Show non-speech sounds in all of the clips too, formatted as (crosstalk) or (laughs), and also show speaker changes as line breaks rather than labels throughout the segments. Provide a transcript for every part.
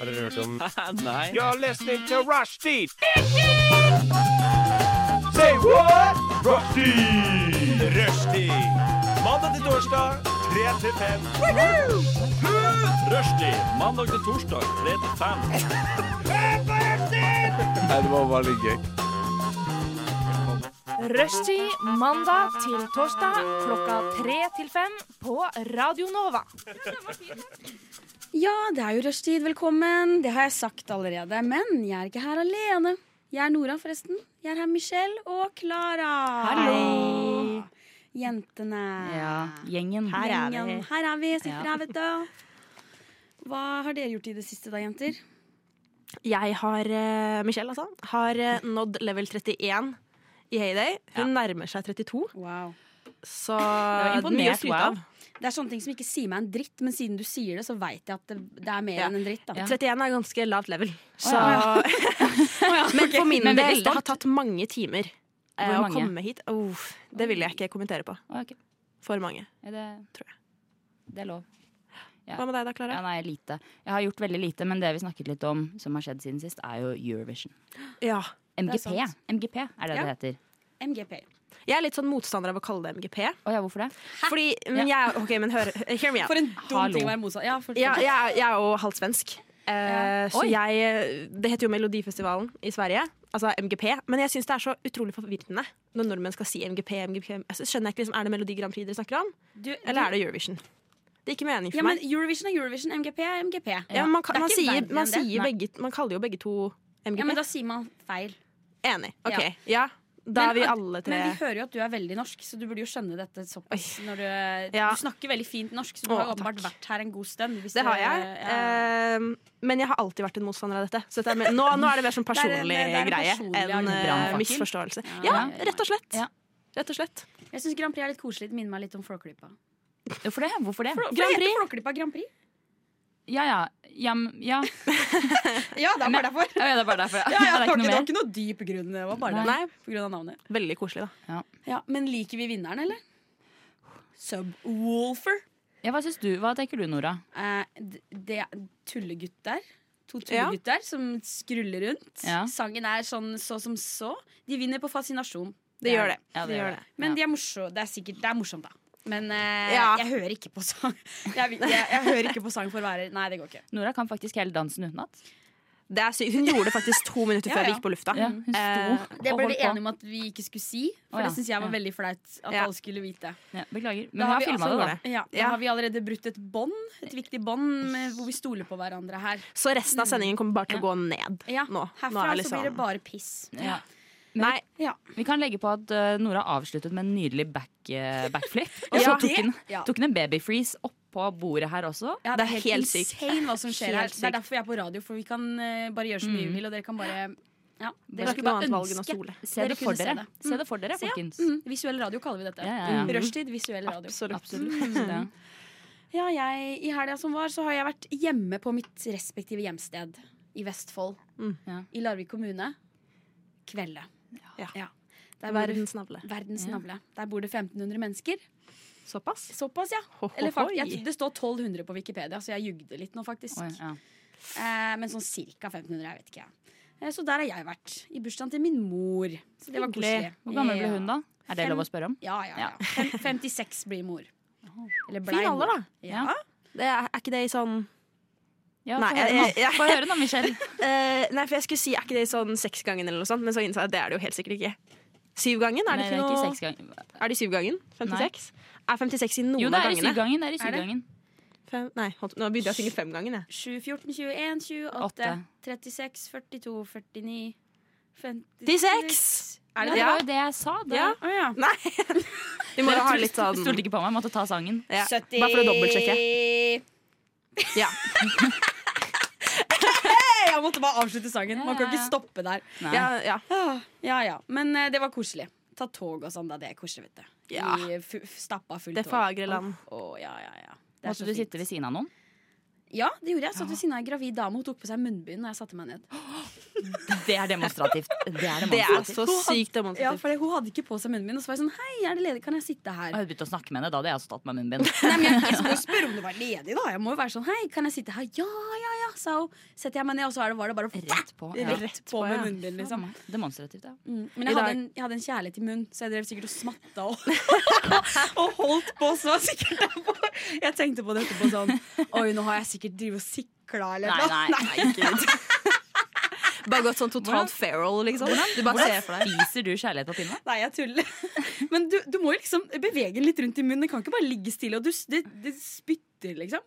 Har dere hørt om
Nei.
You're listening to Rushdie. Say what? Rushdie. Rushdie. Mandag til torsdag, 3 til 5.
Rushdie mandag til torsdag 3 til 5.
Nei, det var bare litt gøy.
Rushtid mandag til torsdag klokka tre til fem på Radio Nova.
Ja, det er jo rushtid. Velkommen. Det har jeg sagt allerede. Men jeg er ikke her alene. Jeg er Nora, forresten. Jeg er her med Michelle og Klara. Hallo. Jentene.
Gjengen.
Gjengen. Her er vi. Sitter her, vet du. Hva har dere gjort i det siste da, jenter?
Jeg har, eh, Michelle altså, har eh, nådd level 31 i Heyday. Hun nærmer seg 32,
Wow.
så
var imponert,
mye å skryte
wow.
av.
Det er sånne ting som ikke sier meg en dritt, men siden du sier det, så veit jeg at det, det er mer
Ja.
enn en dritt. Da.
31 er ganske lavt level. Så,
ja. (laughs)
(laughs) Men for min
Men veldig
del, det har
stolt.
tatt mange timer eh,
Hvor
å
mange?
komme hit. Uff, det vil jeg ikke kommentere på.
Å, ok.
For mange.
Ja, Det
Tror
jeg. Det er lov. Ja.
Hva med deg da,
Ja,
Klara?
nei, lite. Jeg har gjort veldig lite, men det vi snakket litt om som har skjedd siden sist, er jo Eurovision.
Ja.
MGP
sant.
MGP er det
Ja.
det heter.
MGP.
Jeg er litt sånn motstander av å kalle det MGP.
Å ja, hvorfor det?
Fordi, men jeg, ok, men hør, hear me out.
For en dum
Hallo.
ting å være motsatt. Ja, for,
Ja, jeg, er- jeg er jo halvt svensk. Eh, Så
Oi.
jeg Det heter jo Melodifestivalen i Sverige. Altså MGP. Men jeg syns det er så utrolig forvirrende når nordmenn skal si MGP. MGP. Altså, skjønner jeg ikke liksom, Er det Melodi Grand Prix dere snakker om,
du,
eller er det Eurovision? Det er ikke mening for
ja, men
meg.
Eurovision er Eurovision. MGP er MGP.
Ja, men man,
det
kan,
er
man,
ikke verre
sier,
enn
man,
det.
sier
Nei.
begge, man kaller jo begge to MGP.
Ja, men da sier man feil.
Enig. OK.
Ja.
Ja. Da
Men
er vi
at-
alle tre
Men vi hører jo at du er veldig norsk, så du burde jo skjønne dette såpass. Når du,
Ja.
du snakker veldig fint norsk, så du
Å,
har åpenbart
takk.
vært her en god stund. hvis
Det
du-
har jeg.
ja.
Eh, men jeg har alltid vært en motstander av dette. Så dette er mer- nå, nå er det mer sånn
er en-
personlig
det er en
greie
personlig
enn eh,
brannfakkel.
misforståelse. Ja,
Ja.
rett og slett.
Ja.
Rett og slett.
Jeg syns Grand Prix er litt koselig. Det minner meg litt om Flåklypa.
Hvorfor det? Hvorfor det?
Grand Prix? Flåklypa Grand Prix?
Ja, ja. Ja, men- ja.
Ja, det er bare derfor.
(laughs) ja, det er bare derfor. det er ikke
(laughs) Ja, ja, det, var ikke, det
noe
var
mer.
ikke noe dyp grunn. Det var bare
Nei.
det.
Nei,
På grunn av navnet.
veldig koselig, da.
Ja, men liker vi vinneren, eller? Subwoolfer.
Ja, hva syns du? Hva tenker du, Nora?
Eh, d- det er tullegutt der. To tullegutter som skruller rundt.
Ja.
Sangen er sånn så som så. De vinner på fascinasjon.
Det gjør det.
Ja,
det gjør det.
Men
ja.
de er morso- det er sikkert det er morsomt, da. Men eh,
Ja.
jeg hører ikke på sang. (laughs) Jeg, vil- jeg, jeg hører ikke på sang for å være Nei, det går ikke.
Nora kan faktisk hele dansen utenat.
det er sykt. Hun gjorde det faktisk to minutter
Ja,
før
ja.
vi gikk på lufta.
Ja, hun sto
Eh,
Det
og
ble vi
holdt
enige
på.
om at vi ikke skulle si, for
Å, ja.
det syns jeg var
Ja.
veldig flaut at
Ja.
alle skulle vite.
Ja, beklager.
Da
Men hun har
vi-
filma
altså,
det,
det.
da.
Ja, da
Ja.
har vi allerede brutt et bånd, et viktig bånd med- hvor vi stoler på hverandre her.
Så resten av sendingen kommer bare til å gå ned
Ja,
nå. nå
Herfra
er
så
liksom,
blir det bare piss.
Ja.
Nei,
Vi kan legge på at eh, Nora avsluttet med en nydelig back, eh, backflip. Og så
Ja.
tok hun,
Ja.
tok hun en babyfreeze oppå bordet her også.
Ja,
Det er helt sykt.
insane hva som
Helt
skjer her. Det
sykt.
er derfor vi er på radio, for vi kan eh, bare gjøre så mye vi vil, og dere kan bare ja,
det
dere
er ikke
skulle
noe
bare
annet valg enn å
ønske.
stole.
Se
Dere
det for
kunne se
dere,
det.
se det for dere folkens.
Mm, visuell radio kaller vi dette.
Ja, ja, ja.
Mm. Rushtid, visuell radio.
Absolutt.
Absolutt. Ja.
Ja, jeg, I helga som var, så har jeg vært hjemme på mitt respektive hjemsted i Vestfold.
Mm.
Ja.
I Larvik kommune. Kveldet.
Ja.
Der bor det
Verdens navle.
verdens
Ja.
navle. Der bor det 1500 mennesker.
Såpass?
Såpass, ja.
Ho, ho,
Eller fakt,
hoi.
jeg, det står 1200 på Wikipedia, så jeg jugde litt nå, faktisk.
Oi, ja.
eh, men sånn ca. 1500, jeg vet ikke. jeg. Eh, så der har jeg vært. I bursdagen til min mor. Så det var koselig.
Hvor gammel ble hun, da? Er det
Fem-
lov å spørre om?
Ja, ja. ja.
Ja.
Fem, 56 blir mor. Eller blei
Fin alder,
mor.
da.
Ja.
Det er, er ikke det i sånn
Ja,
Nei,
få høre
jeg-
nå.
jeg-
Få høre nå, Michelle.
eh, Nei, for jeg skulle si er ikke det i sånn seksgangen eller noe sånt, men så innså jeg at det er det jo helt sikkert ikke. Syvgangen? Er
Nei,
det ikke
er ikke
noe
seks ganger.
Er det i syvgangen? 56? Er 56 i noen
Jo, det
av
er i
gangene?
syvgangen. Det er i
Er det?
syvgangen.
Fem, nei, holdt, nå begynte jeg å synge femgangen, jeg.
7, 14, 21, 28,
Åtte.
36, 42, 49
56!
56!
Ja,
Er det
det
det?
var jo det jeg sa. Da.
Ja.
Å, ja.
Nei! (laughs) Vi må jo ha litt
Du
sånn
stolte ikke på meg, jeg måtte ta sangen.
ja. Bare for å dobbeltsjekke. Ja.
Jeg måtte bare avslutte sangen. Man
Ja, ja,
kan ikke
ja.
stoppe der.
Nei.
Ja, ja.
Ah, Ja, ja. Men eh, det var koselig. Ta tog og sånn, da. Det er koselig, vet du.
Ja.
I fu- f- stappa fullt
Det fagre land.
ja, ja, ja. Det er så
Måtte du
fint.
sitte ved siden av noen?
Ja, det gjorde jeg. Jeg Satt ved siden av en gravid dame. Hun tok på seg munnbind når jeg satte meg ned.
Det er demonstrativt. Det er
Det er
demonstrativt.
så sykt
Ja,
demonstrativt.
for hun hadde ikke på seg munnbind. Og så var jeg sånn Hei, er det ledig? Kan jeg sitte her?
Jeg hadde begynt å snakke med henne, da hadde jeg også tatt meg munnbind.
Nei, men jeg, jeg skal jo spørre om du var ledig, da. Jeg må jo være sånn Hei, kan jeg sitte her? Ja, ja, ja. sa hun. Setter jeg meg ned, og så er det- var det bare
Rett på. Ja.
Rett
på
på, ja.
med munnen din, liksom.
Liksom. Demonstrativt, ja.
Mm.
I
Men jeg hadde,
dag-
en, jeg hadde en kjærlighet i munnen, så jeg drev sikkert og smatta og, (laughs) og holdt på. Så var sikkert derfor. Jeg tenkte på det etterpå sånn Oi, nå har jeg sikkert drevet og sikla eller
Nei,
noe.
nei, nei, ikke ut.
Bare gått sånn totalt feral, liksom. Du bare ser for deg.
Spiser du kjærlighet på pinne?
Nei, jeg tuller. Men du, du må jo liksom bevege den litt rundt i munnen. Den kan ikke bare ligge stille. Og du, s- det, det spytter, liksom.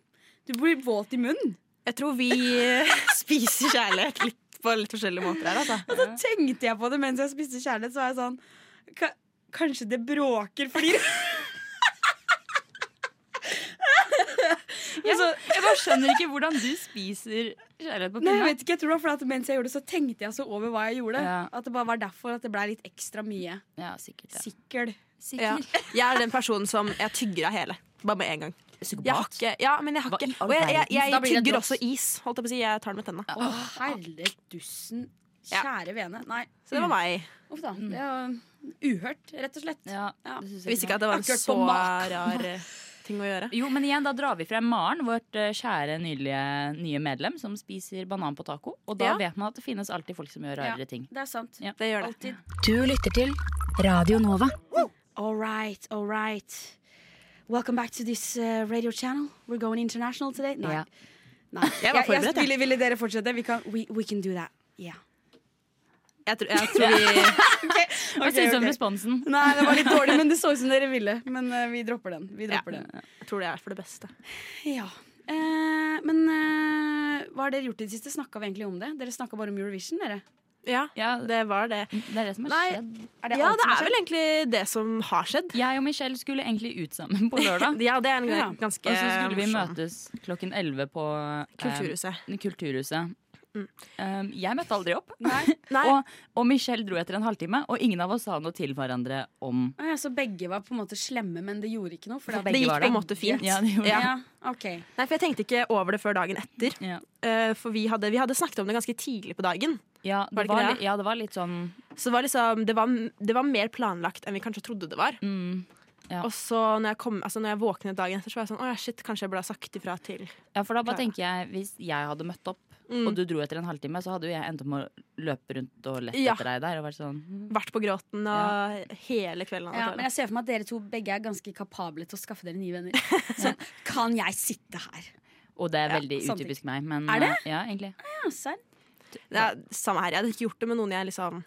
Du blir våt i munnen.
Jeg tror vi (laughs) eh, spiser kjærlighet litt på litt forskjellige måter her, altså.
Og så tenkte jeg på det mens jeg spiste kjærlighet, så var jeg sånn "Ka- Kanskje det bråker fordi (laughs)
Jeg, jeg bare skjønner ikke hvordan du spiser kjærlighet på
Nei, jeg
pinne.
vet ikke, jeg tror det var fordi at mens jeg gjorde det, så tenkte jeg så over hva jeg gjorde.
Ja.
At det bare var derfor at det ble litt ekstra mye.
Ja, sikkert. Ja.
Sikkel.
Ja. Jeg er den personen som jeg tygger av hele. Bare med en gang. Jeg har ikke, ja, men jeg har
Hva
ikke
i all
Og jeg, jeg, jeg,
verden? Da blir det
tygger
drops.
også is. Holdt jeg på å si, jeg tar den med tenna.
Å, herre dussen.
Ja.
Kjære vene. Nei,
Så det var meg.
uff da. Det var uhørt, rett og slett.
Ja,
Ja.
det synes
Jeg
jeg
visste ikke at det var en
Akkurat på
så
mak.
rar eh, ting å gjøre.
Jo, men igjen, da drar vi frem Maren, vårt eh, kjære nylige nye medlem, som spiser banan på taco. Og da
Ja.
vet man at det finnes alltid folk som gjør
Ja.
rarere ting.
Det er sant.
Ja.
Det gjør det.
Alltid.
Du lytter til Radio Nova.
All right, all right. Welcome back to this uh, radio channel. We're going international today. Nei.
Ja.
Nei.
Jeg var forberedt, jeg.
ville, ville dere fortsette? Vi kan, we, we can do that. Yeah.
(laughs) Jeg tror, jeg tror vi
Hva synes du om responsen?
Nei, det var litt dårlig, men det så ut som dere ville. Men eh, vi dropper den. Vi dropper den.
jeg tror det er for det beste.
Ja. Eh, men eh, hva har dere gjort i det siste? Snakka vi egentlig om det? Dere snakka bare om Eurovision, dere.
Ja,
Ja, det
det var det.
er det som har
Nei.
skjedd.
Er
Ja,
alt
det
som
er vel egentlig det som har skjedd.
Jeg og Michelle skulle egentlig ut sammen på
(laughs)
lørdag.
Ja, det er en
Ja.
ganske
Og så skulle vi
morsom-
møtes klokken 11 på eh,
Kulturhuset.
Kulturhuset. Um, jeg møtte aldri opp.
Mm. Nei.
Og, og Michelle dro etter en halvtime, og ingen av oss sa noe til hverandre om
Å ja, så begge var på en måte slemme, men det gjorde ikke noe? For
For
det,
begge
gikk
var
på en
der.
måte fint.
Ja, det gjorde det.
ja. ok.
Nei, for jeg tenkte ikke over det før dagen etter.
Ja.
Eh, for vi hadde, vi hadde snakket om det ganske tidlig på dagen.
Ja,
Var
det
det
var,
ikke det?
litt- ja, det var litt sånn
Så det var, liksom, det, var, det var mer planlagt enn vi kanskje trodde det var.
mm, ja.
Og så når jeg, kom, altså når jeg våknet dagen etter, så var jeg sånn Å ja, shit, kanskje jeg burde ha sagt ifra til
ja, for da bare
Klara.
tenker jeg Hvis jeg hadde møtt opp,
Mm.
og du dro etter en halvtime, så hadde jo jeg endt opp med å løpe rundt og lett
Ja.
etter deg der og vært sånn mm.
Vært på gråten og hele kvelden.
Ja, men jeg ser for meg at dere to begge er ganske kapable til å skaffe dere nye
(laughs)
venner. Sånn, kan jeg sitte her?
Og det er
Ja,
veldig
sånn
sant.
utypisk meg, men
Er det?
eh, Ja, egentlig.
Ja, serr.
det er, samme her. Jeg hadde ikke gjort det med noen jeg liksom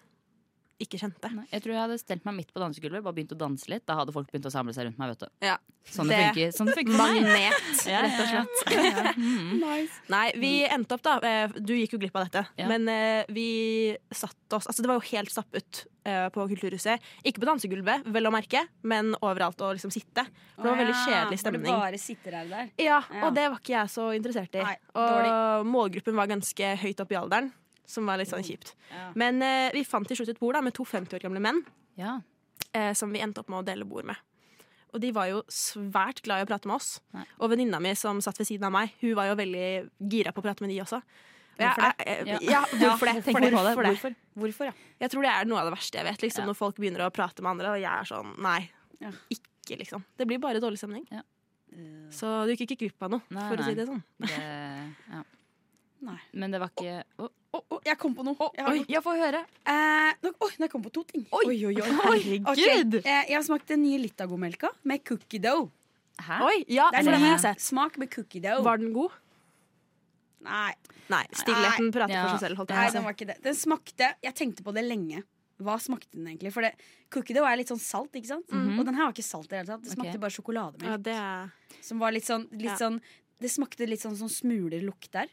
ikke kjente.
Nei, Jeg tror jeg hadde stelt meg midt på dansegulvet, bare begynt å danse litt. Da hadde folk begynt å samle seg rundt meg, vet du.
Ja.
Sånn det,
Det-
funker. Sånn det funker for meg.
Magnet.
Ja, rett og slett.
Mm.
Nei, vi endte opp, da. eh, Du gikk jo glipp av dette.
Ja.
Men eh, vi satte oss Altså, det var jo helt stappet eh, på Kulturhuset. Ikke på dansegulvet, vel å merke, men overalt å liksom sitte. For det var veldig kjedelig stemning.
Hvor det bare sitter her og der.
Ja,
Ja.
og det var ikke jeg så interessert i.
Nei,
og
dårlig.
målgruppen var ganske høyt opp i alderen, som var litt sånn kjipt.
Ja.
Men eh, vi fant til slutt et bord da, med to 50 år gamle menn
Ja.
eh, som vi endte opp med å dele bord med. Og de var jo svært glad i å prate med oss.
Nei.
Og venninna mi som satt ved siden av meg, hun var jo veldig gira på å prate med de også. Hvorfor det? ja,
Ja.
hvorfor det? Tenk
Hvorfor det?
hvorfor det?
Hvorfor?
Hvorfor, ja?
Jeg tror det er noe av det verste jeg vet. Liksom,
Ja.
Når folk begynner å prate med andre, og jeg er sånn nei,
Ja.
ikke liksom. Det blir bare dårlig stemning.
Ja.
Så du gikk ikke glipp av noe,
Nei,
for å
nei.
si det sånn.
Det, ja.
Nei.
Men det var ikke Å,
Å, å, jeg kom på noe. Jeg har
Oi,
noe.
jeg får høre.
Eh, nå- oi, nå kom jeg på to ting. Oi, oi, oi. Ok,
Herregud!
eh, Jeg har smakt den nye Litago-melka med cookie dough.
Hæ?
Oi, ja,
Det er
for den
den
har jeg
jeg har
sett.
sett. Smak med cookie dough.
Var den god?
Nei,
Nei, stillheten prater
Ja.
for seg selv. Holdt
nei,
jeg på
den
å si.
var ikke det. Den smakte Jeg tenkte på det lenge. Hva smakte den egentlig? For det, cookie dough er litt sånn salt, ikke sant? Og den her var ikke salt i det hele tatt. Det smakte
Ok.
bare sjokolademelk.
Ja, det er...
Som var litt sånn, litt
Ja.
sånn Det smakte litt sånn, sånn smulerlukt der.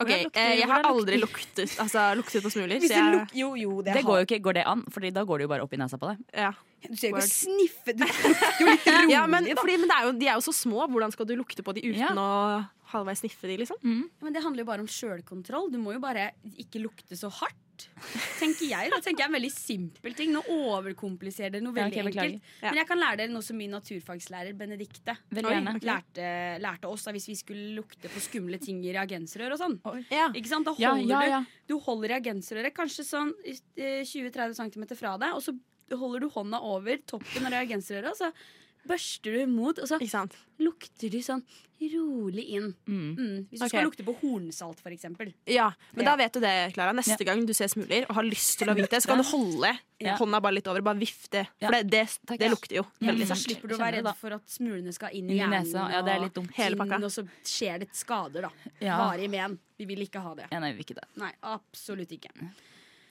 Ok,
Hvordan lukter-
eh, jeg har
hvordan
aldri luktet, altså, luktet på smuler. så
Hvis du
jeg-
luk, jo, jo, det,
Det
har-
går jo ikke, går det an? Fordi da går det jo bare opp i nesa på deg.
Ja.
Du ser jo
Word.
ikke sniffe Du lukter jo litt rolig,
Ja, men,
da.
fordi, men det er jo, de er jo så små. Hvordan skal du lukte på de uten
Ja.
å halvveis sniffe de? liksom?
Men det handler jo bare om sjølkontroll. Du må jo bare ikke lukte så hardt. Tenker jeg da, tenker jeg er en veldig simpel ting. Nå overkompliserer dere noe
Ja, ok,
veldig
beklager.
enkelt.
Ja.
Men jeg kan lære dere noe som min naturfagslærer Benedikte
Veldig
Oi.
gjerne.
lærte, lærte oss da, hvis vi skulle lukte på skumle ting i reagensrør og sånn.
Ja.
Ikke sant? Da
Ja,
holder
ja, ja.
Du, du holder reagensrøret kanskje sånn eh, 20-30 cm fra deg, og så holder du hånda over toppen av reagensrøret, og så børster du imot, og så
Ikke sant?
lukter du sånn rolig inn.
Mm.
Mm. Hvis du
Ok.
skal lukte på hornsalt, for eksempel.
Ja, men
Ja.
da vet du det, Klara. Neste gang du ser smuler og har lyst til å vite, så kan du holde
Ja.
hånda bare litt over og bare vifte.
Ja.
For det, det,
Takk.
det lukter jo veldig
Mm.
sterkt.
Slipper du
Kjenner
å være
det, da.
redd for at smulene skal inn i
Inn i
hjernen.
nesa. Ja, det er litt dumt.
Hele pakka.
inn, Og så skjer det skader, da.
Ja.
Varige men. Vi vil ikke ha det.
Ja, nei, vi vil ikke det.
Nei, absolutt ikke.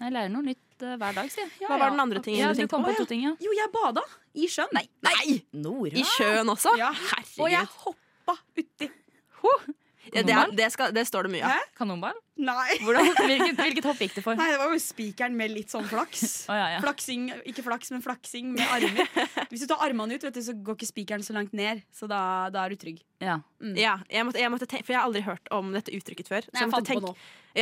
Jeg lærer noe nytt eh, hver dag, sier jeg.
Hva var den andre tingen
Ja,
du
du
tenkte
kom
på?
på to ting, ja.
Jo, jeg bada i sjøen. Nei,
Nei!
Nora.
I sjøen også?
Ja.
Herregud.
Og jeg hoppa uti.
Ja, det, er, det, skal, det står det mye av.
Kanonball?
Nei.
Hvordan, hvilket, hvilket hopp gikk det for?
Nei, det var jo spikeren med litt sånn flaks.
(laughs) Å, ja, ja.
Flaksing, ikke flaks, men flaksing med armer. Hvis du tar armene ut, vet du, så går ikke spikeren så langt ned. Så da, da er du trygg.
Ja.
Ja, jeg måtte, jeg måtte tenke, for jeg har aldri hørt om dette uttrykket før. Så jeg måtte tenke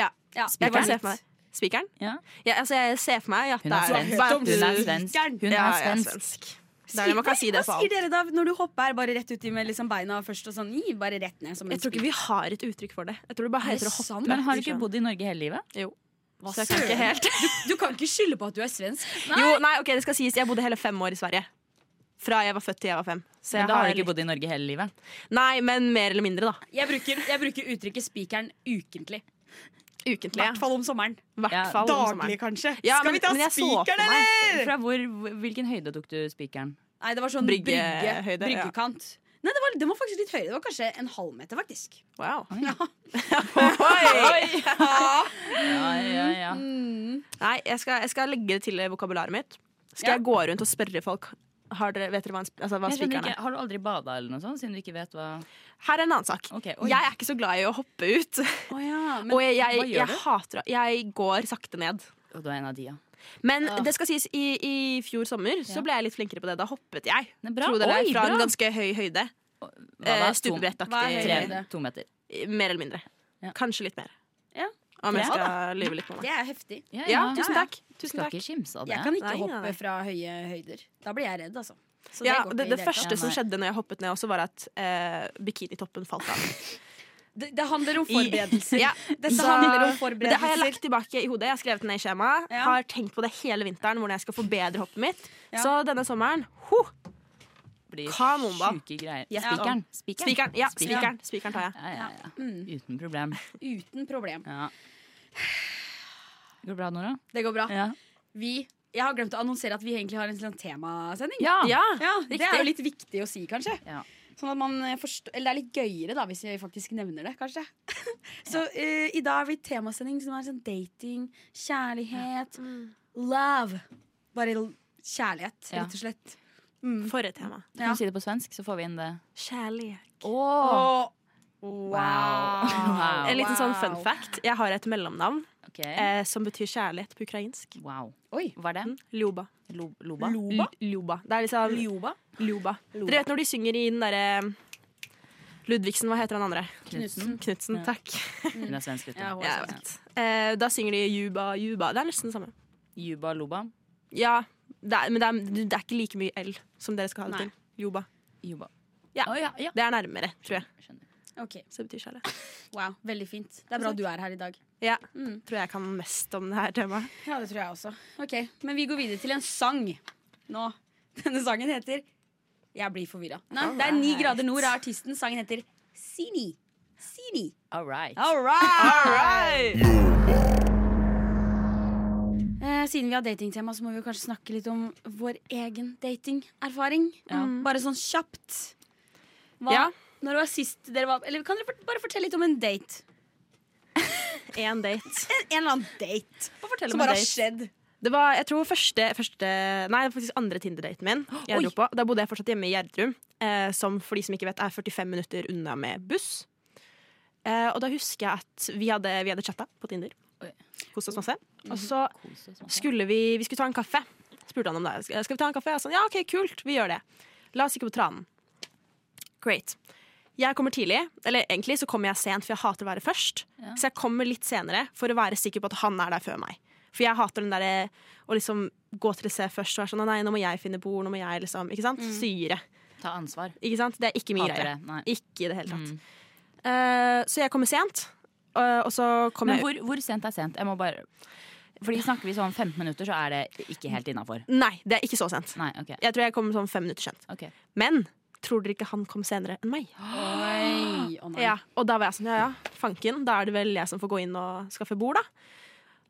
Ja,
Ja,
jeg
det var
kan se
litt.
for meg Spikeren?
Ja.
Ja, altså, jeg ser for meg at
Hun
det
er
er
svensk.
bare at
Hun er
du-
svensk.
Ja,
Hun er
jeg er
svensk.
svensk. Det er det man kan si det
Hva
for
sier
alt.
dere da når du hopper bare rett uti med liksom beina først og sånn? I, bare rett ned som en
Jeg tror ikke vi har et uttrykk for det. Jeg tror det bare
Er det
heter å hoppe.
sant?
Men har du
i
ikke
sjøen.
bodd i Norge hele livet?
Jo.
Hva
Så jeg kan ikke
søren?
helt
spik. Du kan ikke skylde på at du er svensk.
Jo, nei, ok, det skal sies Jeg bodde hele fem år i Sverige Fra jeg var født til jeg var fem Så jeg
Men da har du
litt-
ikke bodd i Norge hele livet.
Nei, men mer eller mindre da
Jeg bruker, jeg bruker uttrykket 'spikeren' ukentlig. I
Ukentlig, ja
hvert fall om sommeren.
Hvert
Ja,
fall om sommeren.
Daglig, kanskje.
Ja,
Skal
men-
vi ta
men jeg så for
spikeren,
meg-
eller?
Fra hvor, hvilken høyde tok du spikeren?
Nei, det var sånn brygge,
Bryggehøyde, ja.
bryggekant. Nei, det var, den var faktisk litt høyere. Det var kanskje en halvmeter, faktisk.
Wow (laughs)
Ja.
(laughs)
Oi. (laughs)
Ja, ja, ja.
Nei, jeg skal, jeg skal legge det til i vokabularet mitt Skal
Ja.
jeg gå rundt og spørre folk har dere, Vet dere hva, en, sp- altså, hva
Jeg skjønner
spikeren
ikke,
er?
Har du aldri bada eller noe sånt, siden du ikke vet hva
Her er en annen sak
Ok, oi.
Jeg er ikke så glad i å hoppe ut
Å ja, men
Og jeg, jeg,
hva gjør du?
jeg hater å- Jeg går sakte ned
Å, Du er en av de, ja.
Men det skal sies, i, i fjor sommer
Ja.
så ble jeg litt flinkere på det. Da hoppet jeg
Det er bra.
Tro det eller ei,
Oi,
fra
bra.
en ganske høy høyde.
Hva
Eh,
da?
Hva
Stupebrettaktig.
er
To,
høyde?
tre, to meter.
Mer eller mindre.
Ja.
Kanskje litt mer.
Ja.
Om jeg
Ja,
skal lyve litt på meg.
det er heftig.
Ja,
Ja,
ja.
tusen takk. Tusen
Skal
takk.
ikke kimse av det.
Jeg kan ikke
Nei, nei, nei.
hoppe fra høye høyder. Da blir jeg redd, altså. Så
Ja, det,
går ikke i
det
hele tatt.
første som
nei.
skjedde når jeg hoppet ned, også var at eh, bikinitoppen falt av.
det, det handler om
(laughs)
forberedelser.
Ja,
Dette
så-
handler om
Men Det har jeg
forberedelser.
lagt tilbake i hodet. Jeg har skrevet det ned i skjemaet.
Ja.
Har tenkt på det hele vinteren, hvordan jeg skal forbedre hoppet mitt.
Ja.
Så denne sommeren ho,
Blir
Kanonball.
sjuke greier.
Ja.
Spikeren. Spikeren.
Spikeren. Ja,
Spikeren.
spikeren. Spikeren tar jeg.
Ja, ja, Mm. ja. Uten problem.
Uten problem.
Ja. Går det bra, Nora?
Det går bra.
Ja.
Vi, jeg har glemt å annonsere at vi egentlig har en sånn temasending.
Ja.
Ja.
Ja, det
riktig.
er jo litt viktig å si, kanskje.
Ja.
Sånn at man eh, forstå- eller det er litt gøyere da, hvis vi faktisk nevner det, kanskje. (laughs) Så eh, i dag har vi temasending som er sånn dating, kjærlighet, love. Bare l- kjærlighet,
Mm. Ja.
rett og slett.
For et tema.
Kan du si det på svensk, så får vi inn det?
Kjærlighet.
Og-
Wow. (laughs)
En liten sånn fun
Wow.
fact. Jeg har et mellomnavn
Ok.
eh, som betyr kjærlighet på ukrainsk.
Wow.
Oi.
Hva er det?
Mm. Ljoba.
Mm. Lo loba?
Loba?
L- Ljoba. Det er liksom
Ljoba?
Ljoba. Dere vet når de synger i den derre Ludvigsen, hva heter han andre?
Knutsen.
Knutsen,
Ja.
takk.
Hun er svensk, vet du.
Ja, hun er
Jeg vet. Eh, da synger de Juba, Juba. Det er nesten det samme.
Juba loba.
Ja, det er, men det er, det er ikke like mye L som dere skal ha det
Nei.
til. Juba.
Juba.
Ja.
Å, ja, ja.
Det er nærmere, tror jeg.
Skjønner.
Ok,
Så det betyr kjærlighet.
wow, Veldig fint. Det er bra du er her i dag.
Ja,
Mm.
Tror jeg kan mest om det her temaet.
Ja, det tror jeg også. Ok, Men vi går videre til en sang nå. Denne sangen heter Jeg blir forvirra. Nei, det er Ni grader nord av artisten. Sangen heter Sini. Sini.
All right.
All right. Eh, siden vi har datingtema, så må vi jo kanskje snakke litt om vår egen datingerfaring.
Ja.
Mm. Bare sånn kjapt. Hva,
Ja.
Når var sist dere var Eller kan dere fort- bare fortelle litt om en date?
Én date.
En, en eller annen date
om
som
en
bare har
date.
skjedd.
Det var jeg tror første, første Nei, det var faktisk andre Tinder-daten min. Jeg dro på. Da bodde jeg fortsatt hjemme i Gjerdrum, eh, som for de som ikke vet er 45 minutter unna med buss. Eh, og da husker jeg at vi hadde, vi hadde chatta på Tinder.
Oi.
Kost oss masse.
Mm.
Og så
Kos oss masse.
skulle vi, vi skulle ta en kaffe. Spurte han om det. Skal skal vi ta en kaffe? Jeg sa ja, ok, kult, vi gjør det. La oss ikke på tranen. Great. Jeg kommer tidlig, eller egentlig så kommer jeg sent, for jeg hater å være først. Så jeg kommer litt senere for å være sikker på at han er der før meg. For jeg hater den derre å liksom gå til et sted først og være sånn «Å nei, nå må jeg finne bord, nå må jeg liksom Ikke sant? Syre.
Ta ansvar.
Ikke sant? Det er ikke min
Mm. Hater
greie.
det. Nei. Mm.
Ikke i det hele tatt. Eh, så jeg kommer sent, eh, og så kommer
Men
jeg
hvor, hvor sent er sent? Jeg må bare Fordi snakker vi sånn 15 minutter, så er det ikke helt innafor.
Nei, det er ikke så sent.
Nei, ok.
Jeg tror jeg kom sånn fem minutter sent.
Ok.
Men tror dere ikke han kom senere enn meg?
Oi, å nei.
Ja, og da var jeg sånn, ja ja, fanken, da er det vel jeg som får gå inn og skaffe bord, da.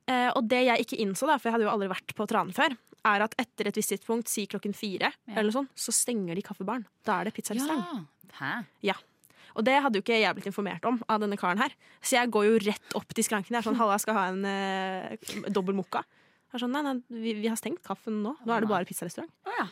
Eh, og det jeg ikke innså, da, for jeg hadde jo aldri vært på Tranen før, er at etter et visst tidspunkt, si klokken fire, eller noe sånt, så stenger de kaffebaren. Da er det pizzarestaurant.
Ja. Hæ?
Ja. Og det hadde jo ikke jeg blitt informert om av denne karen her. Så jeg går jo rett opp til skranken. Jeg er sånn, Halla, jeg skal ha en eh, dobbel mokka. Jeg er sånn, nei, nei, vi, vi har stengt kaffen nå. Nå er det bare pizzarestaurant.
Å ja.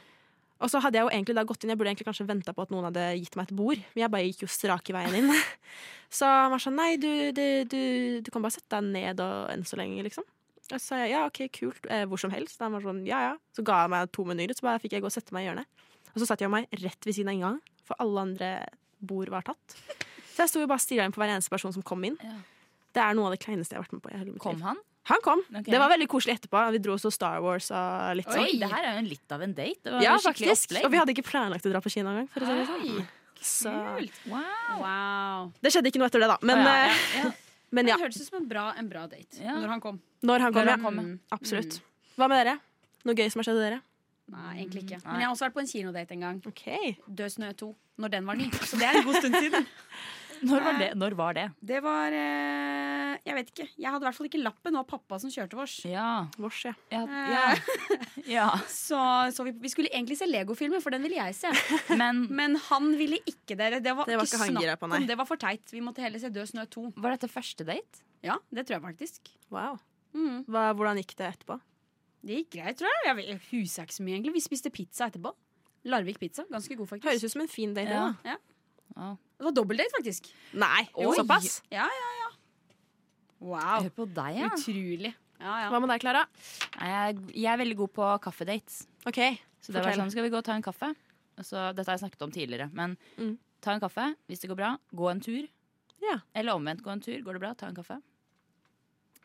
Og så hadde jeg jo egentlig da gått inn, jeg burde egentlig kanskje venta på at noen hadde gitt meg et bord, men jeg bare gikk jo strake veien inn. (laughs) Så han var sånn nei, du, du, du, du kan bare sette deg ned og, enn så lenge, liksom. Og så sa jeg ja, OK, kult, eh, hvor som helst. Han var sånn ja, ja. Så ga han meg to menyer, så bare fikk jeg gå og sette meg i hjørnet. Og så satt jeg meg rett ved siden av inngangen, for alle andre bord var tatt. Så jeg sto jo bare og stirra inn på hver eneste person som kom inn.
Ja.
Det er noe av det kleineste jeg har vært med på. i hele mitt liv.
Kom han?
Han kom.
Ok.
Det var veldig koselig etterpå. Vi dro og så Star Wars og litt sånn.
Oi, det her er jo en litt av en date. Det var
Ja,
jo skikkelig
faktisk.
opplegg.
Og vi hadde ikke planlagt å dra på kino engang. For å si det sånn. Så
Wow.
Wow.
det skjedde ikke noe etter det, da. Men,
Å, ja, ja,
eh,
ja.
(laughs) men ja,
Det hørtes ut som en bra, en bra date
Ja.
når han kom.
når han
Når
kommer.
han kommer.
Mm. Absolutt. Hva med dere? Noe gøy som har skjedd dere?
Nei, egentlig ikke. Men jeg har også vært på en kinodate en gang.
Ok,
Død snø 2. Når den var ny. (laughs) Så det er en god stund siden.
Når var det? Når var det?
(laughs) Det var eh, Jeg vet ikke. Jeg hadde i hvert fall ikke lappen. Det var pappa som kjørte vårs.
Ja.
Vårs, ja.
Ja.
(laughs)
ja. ja.
Så, så vi, vi skulle egentlig se Lego-filmer, for den ville jeg se. (laughs)
Men
Men han ville ikke dere. Det var,
Det var
ikke
ikke han gira
snakk
på,
om.
nei.
Det var for teit. Vi måtte heller se Død snø 2.
var dette første date?
Ja, det tror jeg faktisk.
Wow.
Mm.
Hva, hvordan gikk det etterpå?
Det gikk greit, tror jeg. Jeg vet- Jeg husker ikke så mye, egentlig. Vi spiste pizza etterpå. Larvik pizza. Ganske god, faktisk.
Høres ut som en fin date.
Ja.
Da.
Det var dobbeltdate, faktisk.
Nei,
Oi.
såpass.
Ja, ja, ja. Wow.
Hør på deg, ja.
Utrolig. Ja, ja.
Hva med deg, Klara?
Nei, Jeg, jeg er veldig god på kaffedates.
Ok,
Så det var
Fortell.
sånn, skal vi gå og ta en kaffe? Og så, dette har jeg snakket om tidligere, men
Mm.
ta en kaffe hvis det går bra. Gå en tur.
Ja.
Eller omvendt, gå en tur. Går det bra, ta en kaffe.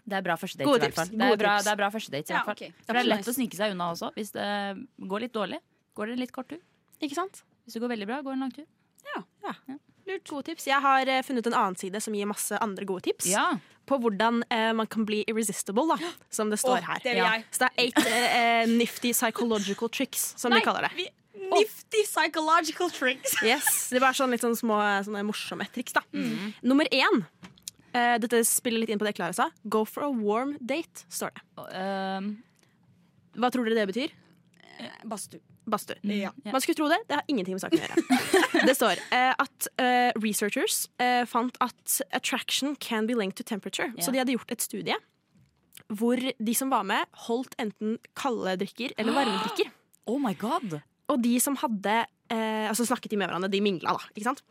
Det er bra første date,
Gode
i hvert fall.
tips,
Det
gode
er bra,
tips.
det er bra første date, i
Ja,
hvert fall.
ok.
For det er lett
Nice.
å snike seg unna også, hvis det går litt dårlig. Går det en litt kort tur.
ikke sant?
Hvis det går veldig bra, går en lang tur.
Lurt. Gode tips. Jeg har eh, funnet en annen side som gir masse andre gode tips.
Ja.
På hvordan eh, man kan bli irresistible, da, som det står
Åh,
her.
det vil
Ja.
jeg.
Så det er eight eh, eh, nifty psychological tricks, som de kaller det.
Vi, nifty psychological tricks.
(laughs) Yes, Det er bare sånn litt sånn små sånne morsomme triks. da
Mm.
Nummer én. eh, dette spiller litt inn på det Klara sa. Go for a warm date, står det.
Og, ehm, øhm,
Hva tror dere det betyr?
Badstue.
Badstue.
Ja.
Ja.
Man skulle tro det. Det har ingenting med saken å gjøre.
(laughs)
det står eh, at eh, researchers eh, fant at attraction can be linked to temperature.
Ja.
Så de hadde gjort et studie hvor de som var med, holdt enten kalde drikker eller
(gasps)
varme drikker.
Oh my god!
Og de som hadde eh, Altså snakket de med hverandre, de mingla, da. Ikke sant?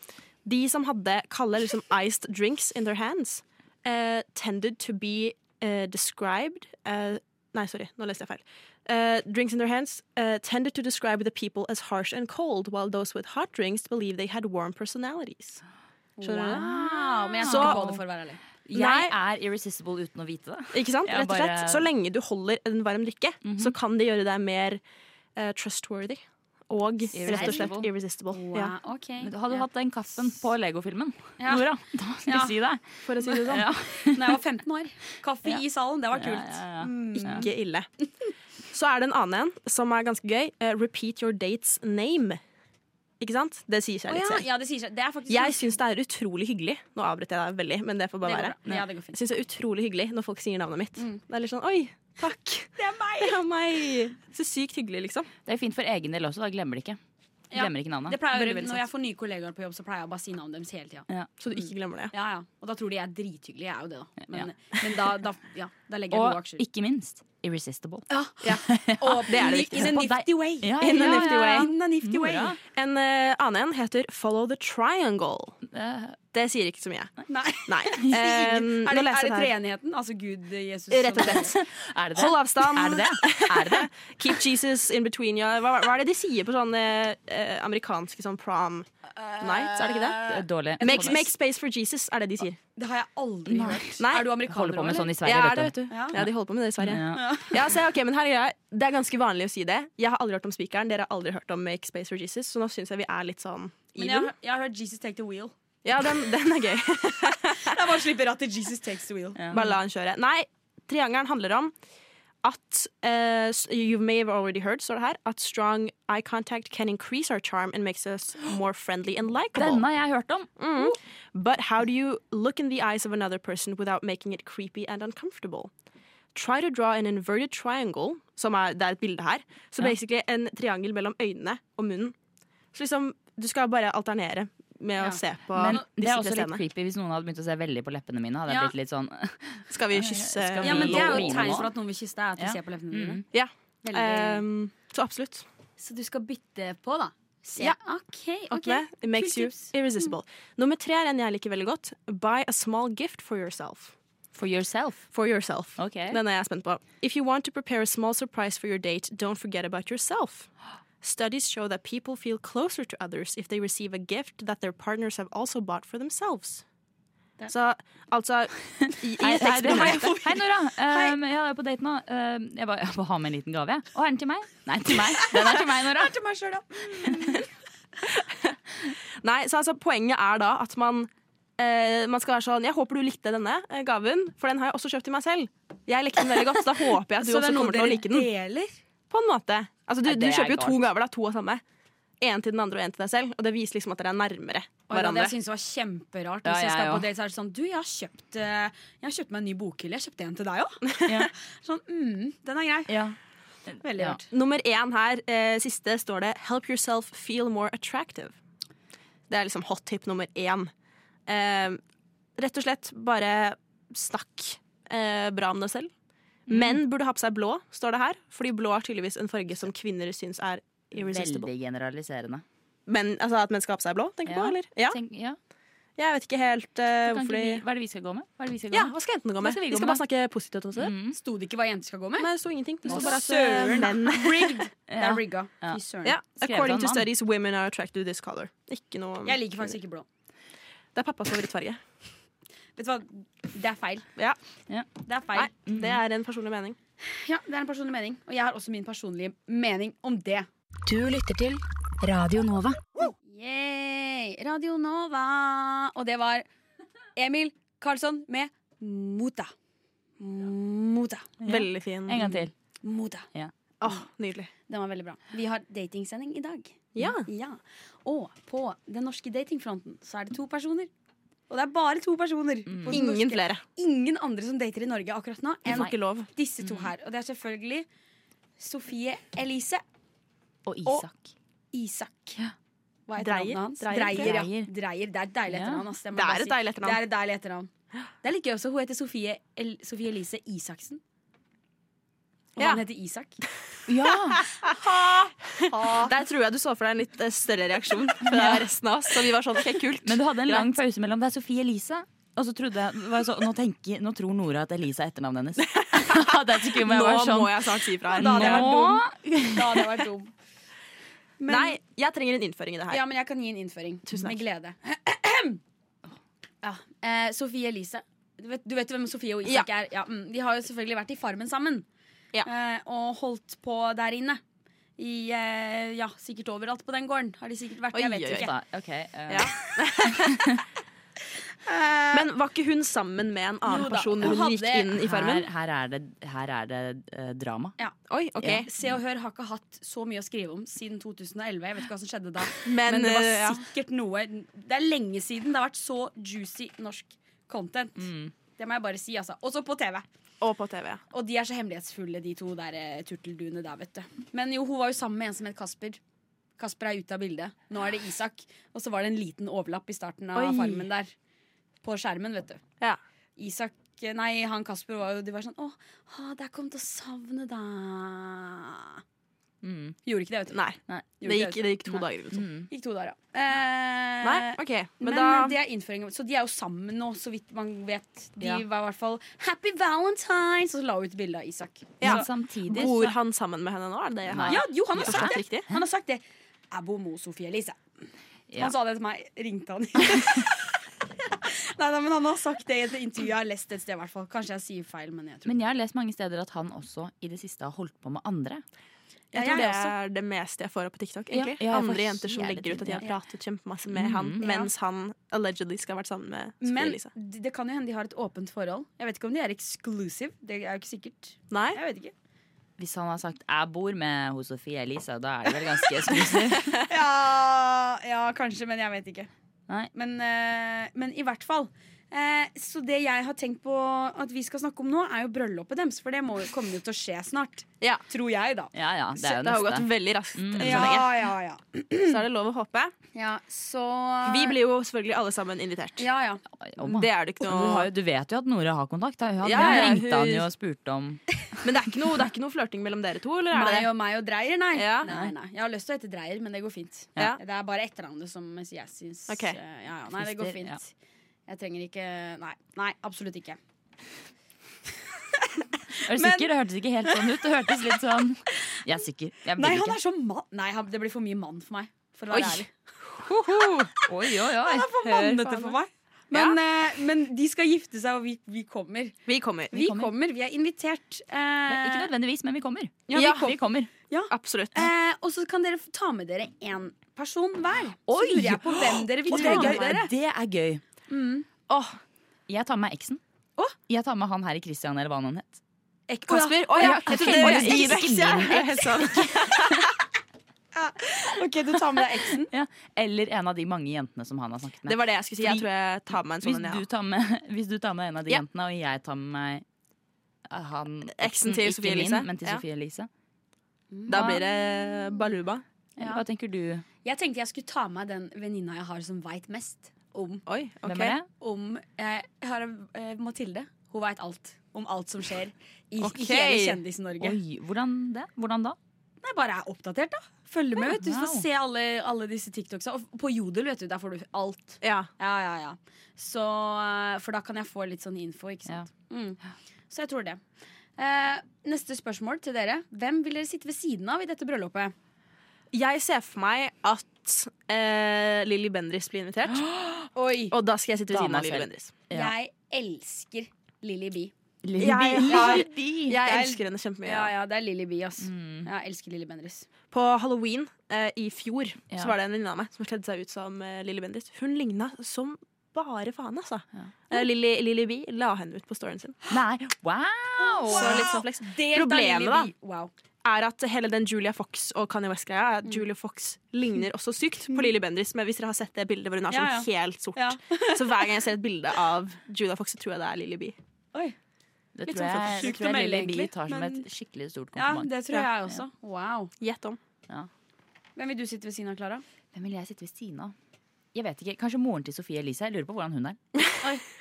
De som hadde kalde liksom, iced drinks in their hands, eh, tended to be eh, described eh, Nei, sorry, nå leste jeg feil. Eh, drinks in their hands eh, tended to describe the people as harsh and cold, while those with hot drinks believe they had warm personalities. Skjønner du det?
Wow, men jeg
Så-
tror ikke på det for å være ærlig.
Jeg er irresistible uten å vite det.
Ikke sant?
Ja,
Rett og
bare- Mhm.
slett. Så lenge du holder en varm drikke, så kan det gjøre deg mer eh, trustworthy. Og rett og slett
Irresistible.
irresistible.
Wow,
Ja,
ok.
Men Hadde du
Ja.
hatt den kaffen på Lego-filmen,
Ja.
Nora, da skal
Ja.
jeg si deg.
for å si det sånn.
Ja.
Når jeg var 15 år. Kaffe i salen, det var
Ja,
kult.
ja,
Mm.
ja.
Ikke ille. (laughs) Så er det en annen en som er ganske gøy. Eh, repeat your date's name. Ikke sant? Det sier
Å
seg litt
ja,
selv.
ja, det sier seg. Det er faktisk
Jeg syns det er utrolig hyggelig. Nå avbryter jeg deg veldig, men det får
det
bare
går
være.
bra. Ja, Mm. det går
Jeg
fint.
syns det er utrolig hyggelig når folk sier navnet mitt. Det er litt sånn oi, takk.
Det er meg!
Det er meg. Så sykt hyggelig, liksom.
Det er fint for egen del også, da glemmer de ikke.
Ja.
Glemmer ikke navnet.
Det pleier å
Veldig,
gjøre
veldig
Når jeg får nye kollegaer på jobb, så pleier jeg å bare si navnet deres hele tida.
Så du ikke glemmer det.
Ja, ja. Og da tror de jeg er drithyggelig. Jeg er jo det, da. Men,
Ja.
men da, da, ja, da legger jeg
Og
gode aksjer. Eh,
ikke minst irresistible.
(laughs) Og
det er det
In
viktigste.
a nifty way.
Ja,
In a
ja,
nifty
ja,
way.
ja.
In a nifty way.
Nora.
En eh, annen en heter Follow the triangle.
Eh,
Det sier ikke så mye.
(laughs) Nei.
Nei. (laughs)
Er
Eh,
det,
nå
Um,
leser
er det
jeg det her.
treenigheten? Altså Gud, Jesus
Rett og
(laughs)
slett.
Er det det?
Hold avstand.
Er det det? Er det det?
Keep Jesus in between you. Hva, hva er det de sier på sånne eh, amerikanske sånn prom nights? Er det ikke det?
det er dårlig.
Make, make space for Jesus, er det de sier.
Det har jeg aldri hørt.
Nei.
Er
Jeg
du
holder
amerikaner
på med sånn i Sverige,
Ja, er det,
vet du.
vet du.
Ja.
Ja, de holder på med det i Sverige.
Ja.
Ja, så, ok, men her er greia. Det er ganske vanlig å si det. Jeg har aldri hørt om spikeren, dere har aldri hørt om Make space for Jesus, så nå syns jeg vi er litt sånn
Men jeg,
even.
har- jeg har hørt Jesus take the wheel.
Ja, den, den er gøy. (laughs)
Jeg bare slipper rattet. Jesus takes the wheel.
Bare la han kjøre. Nei, triangelen handler om at eh, s- You may have already heard, står det her, at strong eye contact can increase our charm and makes us more friendly and likable.
Denne har jeg hørt om.
Mm. But how do you look in the eyes of another person without making it creepy and uncomfortable? Try to draw an inverted triangle, som er, det er et bilde her. Så
Ja.
basically en triangel mellom øynene og munnen. Så liksom, du skal bare alternere med
Ja.
å se på
Men det
disse
er
tre
også litt
scenene.
creepy hvis noen hadde begynt å se veldig på leppene mine. Hadde jeg
Ja.
blitt litt sånn (laughs)
Skal vi kysse?
Skal vi-
Ja, men Det er jo et
Line
tegn
nå.
for at noen vil kysse deg. At du
Ja.
ser på leppene dine.
Mm. Ja.
Veldig-
Um, så absolutt.
Så du skal bytte på, da? Se.
Ja.
OK. ok.
Okay. It makes
Kult
you
tips.
irresistible. Nummer tre er en jeg liker veldig godt. Buy a small gift for yourself.
for yourself.
For yourself.
Ok.
Den er jeg spent på. If you want to prepare a small surprise for your date, don't forget about yourself. Studies show that people feel closer to others if they receive a gift that their partners have also bought for themselves. Så altså i, i
Hei, hei,
tekstbildet-
hei, hei, Nora. Um, jeg er på date nå. Um, jeg bare, (laughs) jeg bare har med en liten gave. jeg. Å, er den til meg? Nei, til meg. Den er til meg, Nora.
Nei, så altså, poenget er da at man eh, man skal være sånn, Jeg håper du likte denne eh, gaven, for den har jeg også kjøpt til meg selv. Jeg likte den veldig godt, så da håper jeg at du også kommer til å like den.
deler?
På en måte. Altså, du,
Nei,
du
det er
kjøper jo to
galt.
gaver, da. To av samme. En til den andre og en til deg selv. Og det viser liksom at dere er nærmere
Og det
hverandre.
jeg synes var kjemperart.
Ja,
Hvis jeg
jeg
skal på
òg.
date, så er det sånn Du, jeg har kjøpt, eh, jeg har kjøpt meg en ny bokhylle. Jeg kjøpte en til deg òg.
(laughs) Ja.
sånn, mm, den er grei.
Ja.
Veldig
Ja.
rart.
Nummer én her, eh, siste, står det 'Help yourself feel more attractive'. Det er liksom hot tip nummer én. Eh, rett og slett bare snakk eh, bra om deg selv.
Mm.
Menn burde ha på seg blå, står det her. Fordi blå er tydeligvis en farge som kvinner syns er irresistible.
Veldig generaliserende.
Men, altså At menn skal ha på seg blå, tenker du på?
Ja.
eller? Ja,
Tenk, ja.
Jeg vet ikke helt eh,
Kan ikke
hvorfor
vi,
de
hva er det vi skal gå med? Hva er det vi skal gå
Ja,
med?
Hva skal jentene gå
Hva
med?
skal vi
Vi
gå
skal bare
med?
snakke positivt om det.
Mm.
Sto det ikke hva jenter skal gå med?
(laughs)
Nei, det sto ingenting. Det sto bare at eh,
Søren.
menn
Rigged. Det
Ja.
er rigga.
Ja.
Fy
(laughs)
søren.
Ja,
Skrevet
According
av
to
mann.
studies, women are attracted to this color. Ikke noe
Jeg liker faktisk ikke blå.
Det er pappas favorittfarge.
Vet du hva, det er feil.
(laughs) Ja.
Ja.
Det er feil.
Nei, det er en personlig mening.
Ja, det er en personlig mening. Og jeg har også min personlige mening om det.
Du lytter til Radio Nova.
Yay! Radio Nova. Og det var Emil Karlsson med Mota. Mota.
Veldig fin.
En gang til.
Mota.
Åh, nydelig.
Den var veldig bra. Vi har datingsending i dag.
Ja.
Og på den norske datingfronten så er det to personer. Og det er bare to personer. på den
Mm. Ingen
norske-
flere.
Ingen andre som dater i Norge akkurat nå
Du
enn
får ikke lov. Mm.
disse to her. Og det er selvfølgelig Sofie Elise
Og Isak.
Isak. Hva heter
Dreyer?
navnet hans?
Dreier,
Dreier, ja.
Dreier.
Dreier. Det er et deilig
Ja.
etternavn. ass,
Det
må jeg
er et
bare si.
deilig etternavn.
Det er et deilig etternavn. Det er like gøy også. Hun heter Sofie, El Sofie Elise Isaksen. Og
Ja.
han heter Isak.
(laughs)
Ja!
Der tror jeg du så for deg en litt eh, større (laughs) reaksjon fra resten av oss. Så vi var sånn, ok, kult.
Men du hadde en lang pause mellom Det er Sofie Elise. Og så trodde jeg var jeg så, nå, tenker, nå tror Nora at Elise er etternavnet
(laughs)
hennes. det er så kult, men
Nå
jeg var sånn,
må jeg snart si fra her.
Da hadde jeg vært dum.
Nå
Da hadde jeg vært dum. Men,
Nei, jeg trenger en innføring i det her.
Ja, men jeg kan gi en innføring.
Tusen
Med glede. (clears throat) Ja. Eh, Sofie Elise. Du vet, du vet hvem Sofie og Isak er? Ja, mm. De har jo selvfølgelig vært i Farmen sammen.
Ja.
Eh, og holdt på der inne. I, eh, ja, sikkert overalt på den gården har de sikkert vært.
Oi,
Jeg
oi,
vet
oi.
jo ikke.
Da, ok, eh,
Ja.
Eh,
Men var ikke hun sammen med en annen
Jo da,
person
hun
når hun gikk
hadde-
inn i farmen?
Her, her er det, her er det eh, drama.
Oi, ok.
Ja.
Se og Hør har ikke hatt så mye å skrive om siden 2011. Jeg vet ikke hva som skjedde da.
Men,
(laughs) Men, det var
eh, ja.
sikkert noe Det er lenge siden det har vært så juicy norsk content. Det må jeg bare si, altså. Også på TV.
Og på TV. ja.
Og de er så hemmelighetsfulle, de to der eh, turtelduene der, vet du. Men jo, hun var jo sammen med en som het Kasper. Kasper er ute av bildet. Nå er det Isak. Og så var det en liten overlapp i starten av
Oi.
farmen der. På skjermen, vet du.
Ja.
Isak eh, Nei, han Kasper var jo De var sånn Å, ah, det er kommet til å savne deg.
Mm.
Gjorde ikke det, vet du.
Nei,
Nei.
det gikk, det gikk to
Nei.
dager ut.
Gikk to dager, ja. Eh,
Nei, ok.
Men,
Men da...
eh, det er innføringen. Så de er jo sammen nå, så vidt man vet. De
Ja.
var i hvert fall Happy Valentine's! Og så la hun ut bilde av Isak.
Ja.
Men samtidig så-
Bor han sammen med henne nå? Er det det jeg
Nei.
har?
Ja, jo, han har
forstått
sagt det.
riktig?
Han har sagt det. Abo Mo Sofie Elise.
ja.
Han sa det til meg.
(laughs)
Ringte han. nei, nei, men han har sagt det i et intervju jeg har lest et sted, i hvert fall. Kanskje jeg sier feil, men jeg tror
Men jeg har lest mange steder at han også i det siste har holdt på med andre.
Jeg
Ja,
tror
jeg
det
også.
er det meste jeg får opp på TikTok. egentlig
Ja, ja, for
Andre jenter som
hele
legger ut at de har
tiden,
pratet kjempemasse med han mens han allegedly skal ha vært sammen med Sofie
Mm, Men
Elise.
det det kan jo hende de har et åpent forhold. Jeg vet ikke om de er exclusive. Det er jo ikke sikkert.
Nei?
Jeg vet ikke.
Hvis han har sagt 'jeg bor med hos Sofie Elise', da er det vel
(laughs)
ganske eksklusivt.
Ja, ja, kanskje, men jeg vet ikke.
Nei.
Men, eh, men i hvert fall. Eh, så det jeg har tenkt på at vi skal snakke om nå, er jo bryllupet deres. For det må jo komme til å skje snart.
Ja.
Tror jeg, da.
Ja ja, det er jo
Det har jo gått
neste. Mm.
veldig raskt. enn så
Ja,
lenge.
ja, ja.
Så er det lov å håpe.
ja så
Vi blir jo selvfølgelig alle sammen invitert.
Ja, ja.
Om han-
Det er det ikke
du,
noe
har jo, du vet jo at Nora har kontakt. Da. Hun hadde-
Ja,
hun
ja,
ringte han
hun-
jo og spurte om
Men det er ikke noe, det er ikke noe flørting mellom dere to? Eller er det
Meg
det?
og meg og Dreyer, nei.
Ja.
nei, nei. Jeg har lyst til å hete Dreyer, men det går fint.
Ja.
Det er bare etternavnet som jeg syns
Ok.
eh, ja, ja, Nei, det går
Frister, ja.
fint. Jeg trenger ikke Nei, nei absolutt ikke.
Er du
Men-
sikker? Det hørtes ikke helt sånn ut. Det hørtes litt sånn Jeg er sikker. Jeg blir
Nei, han
ikke.
er så mann. Nei, han, det blir for mye mann for meg. For å
Oi.
være ærlig.
Oi, oi, oi.
Han er for
Hør på
mannete
han.
for meg. Men, eh, men de skal gifte seg, og vi, vi kommer.
Vi kommer.
Vi
kommer.
kommer. vi er invitert. eh,
Ikke nødvendigvis, men vi kommer.
Ja, vi kom-
vi kommer.
Absolutt.
eh, og så kan dere få ta med dere én person hver. Så
Oi!
lurer jeg på hvem dere vil
Og det
ta
er
med
gøy.
dere. Mm.
Det er gøy.
Åh,
Jeg tar med meg eksen. Jeg tar med han her i Christian, eller hva han het.
Kasper. Å ja.
Ja,
Jeg
Kasper.
trodde det var
Jeg
din
elsker
eks. ja.
min
Jeg sa det.
Ok, Du tar med deg eksen.
Ja. Eller en av de mange jentene som han har snakket med.
Det var det jeg skulle si. Jeg
Fordi-
tror jeg tar med meg en
hvis,
sånn en.
du
Ja.
tar med, (laughs) hvis du tar med en av de
Ja.
jentene, og jeg tar med meg eh, han
Eksen til
ikke
Sophie
min,
Elise.
Men til
Ja.
Sophie Elise.
Da blir det baluba.
Eller Hva tenker du?
Jeg tenkte jeg skulle ta med den venninna jeg har som veit mest om,
Oi, ok.
Hvem er det?
om eh, Jeg har eh, Mathilde. Hun veit alt om alt som skjer i
Ok.
hele Kjendis-Norge.
Oi, hvordan det? Hvordan da?
Nei, bare er oppdatert, da. Følger med, vet du. Så
wow.
se alle, alle disse TikToksa. Og på Jodel, vet du, der får du alt.
Ja.
Ja, ja, ja. Så, eh, for da kan jeg få litt sånn info, ikke sant. Mm. Så jeg tror det. Eh, neste spørsmål til dere. Hvem vil dere sitte ved siden av i dette bryllupet?
Jeg ser for meg at eh, Lilly Bendriss blir invitert.
(gasps)
Oi!
Og da skal jeg sitte ved siden
Dama
av Lilly
selv.
Bendriss.
Ja.
Jeg elsker Lilly B.
Lille
Jeg-
Bi-
jeg-
Lille Bi.
Jeg elsker henne kjempemye.
Ja, ja, det er Lilly B, ass.
Mm,
Jeg elsker Lilly Bendriss.
På halloween eh, i fjor
Ja.
så var det en venninne av meg som kledde seg ut som eh, Lilly Bendriss. Hun ligna som bare faen, altså. Eh, Lilly Lilly Bee la henne ut på storyen sin.
Nei, wow!
Så litt sånn flex. Problemet, da, er at hele den Julia Fox og Kanye West-greia er at Julia Fox ligner også sykt på Lilly Bendriss. Men hvis dere har sett det bildet hvor hun har
Ja,
sånn helt sort,
Ja.
(laughs) så hver gang jeg ser et bilde av Julia Fox, så tror jeg det er Lilly Bee.
Det
Litt
tror
sånn
jeg, det
sykt å
tror jeg
melde,
Lille Bi
egentlig,
tar som
men-
et skikkelig stort
Ja,
kompliment.
det tror jeg også. Wow.
Gjett om.
Hvem vil du sitte ved siden av, Klara?
Hvem vil jeg sitte ved siden av? Jeg vet ikke, Kanskje moren til Sophie Elise. Jeg lurer på hvordan hun er.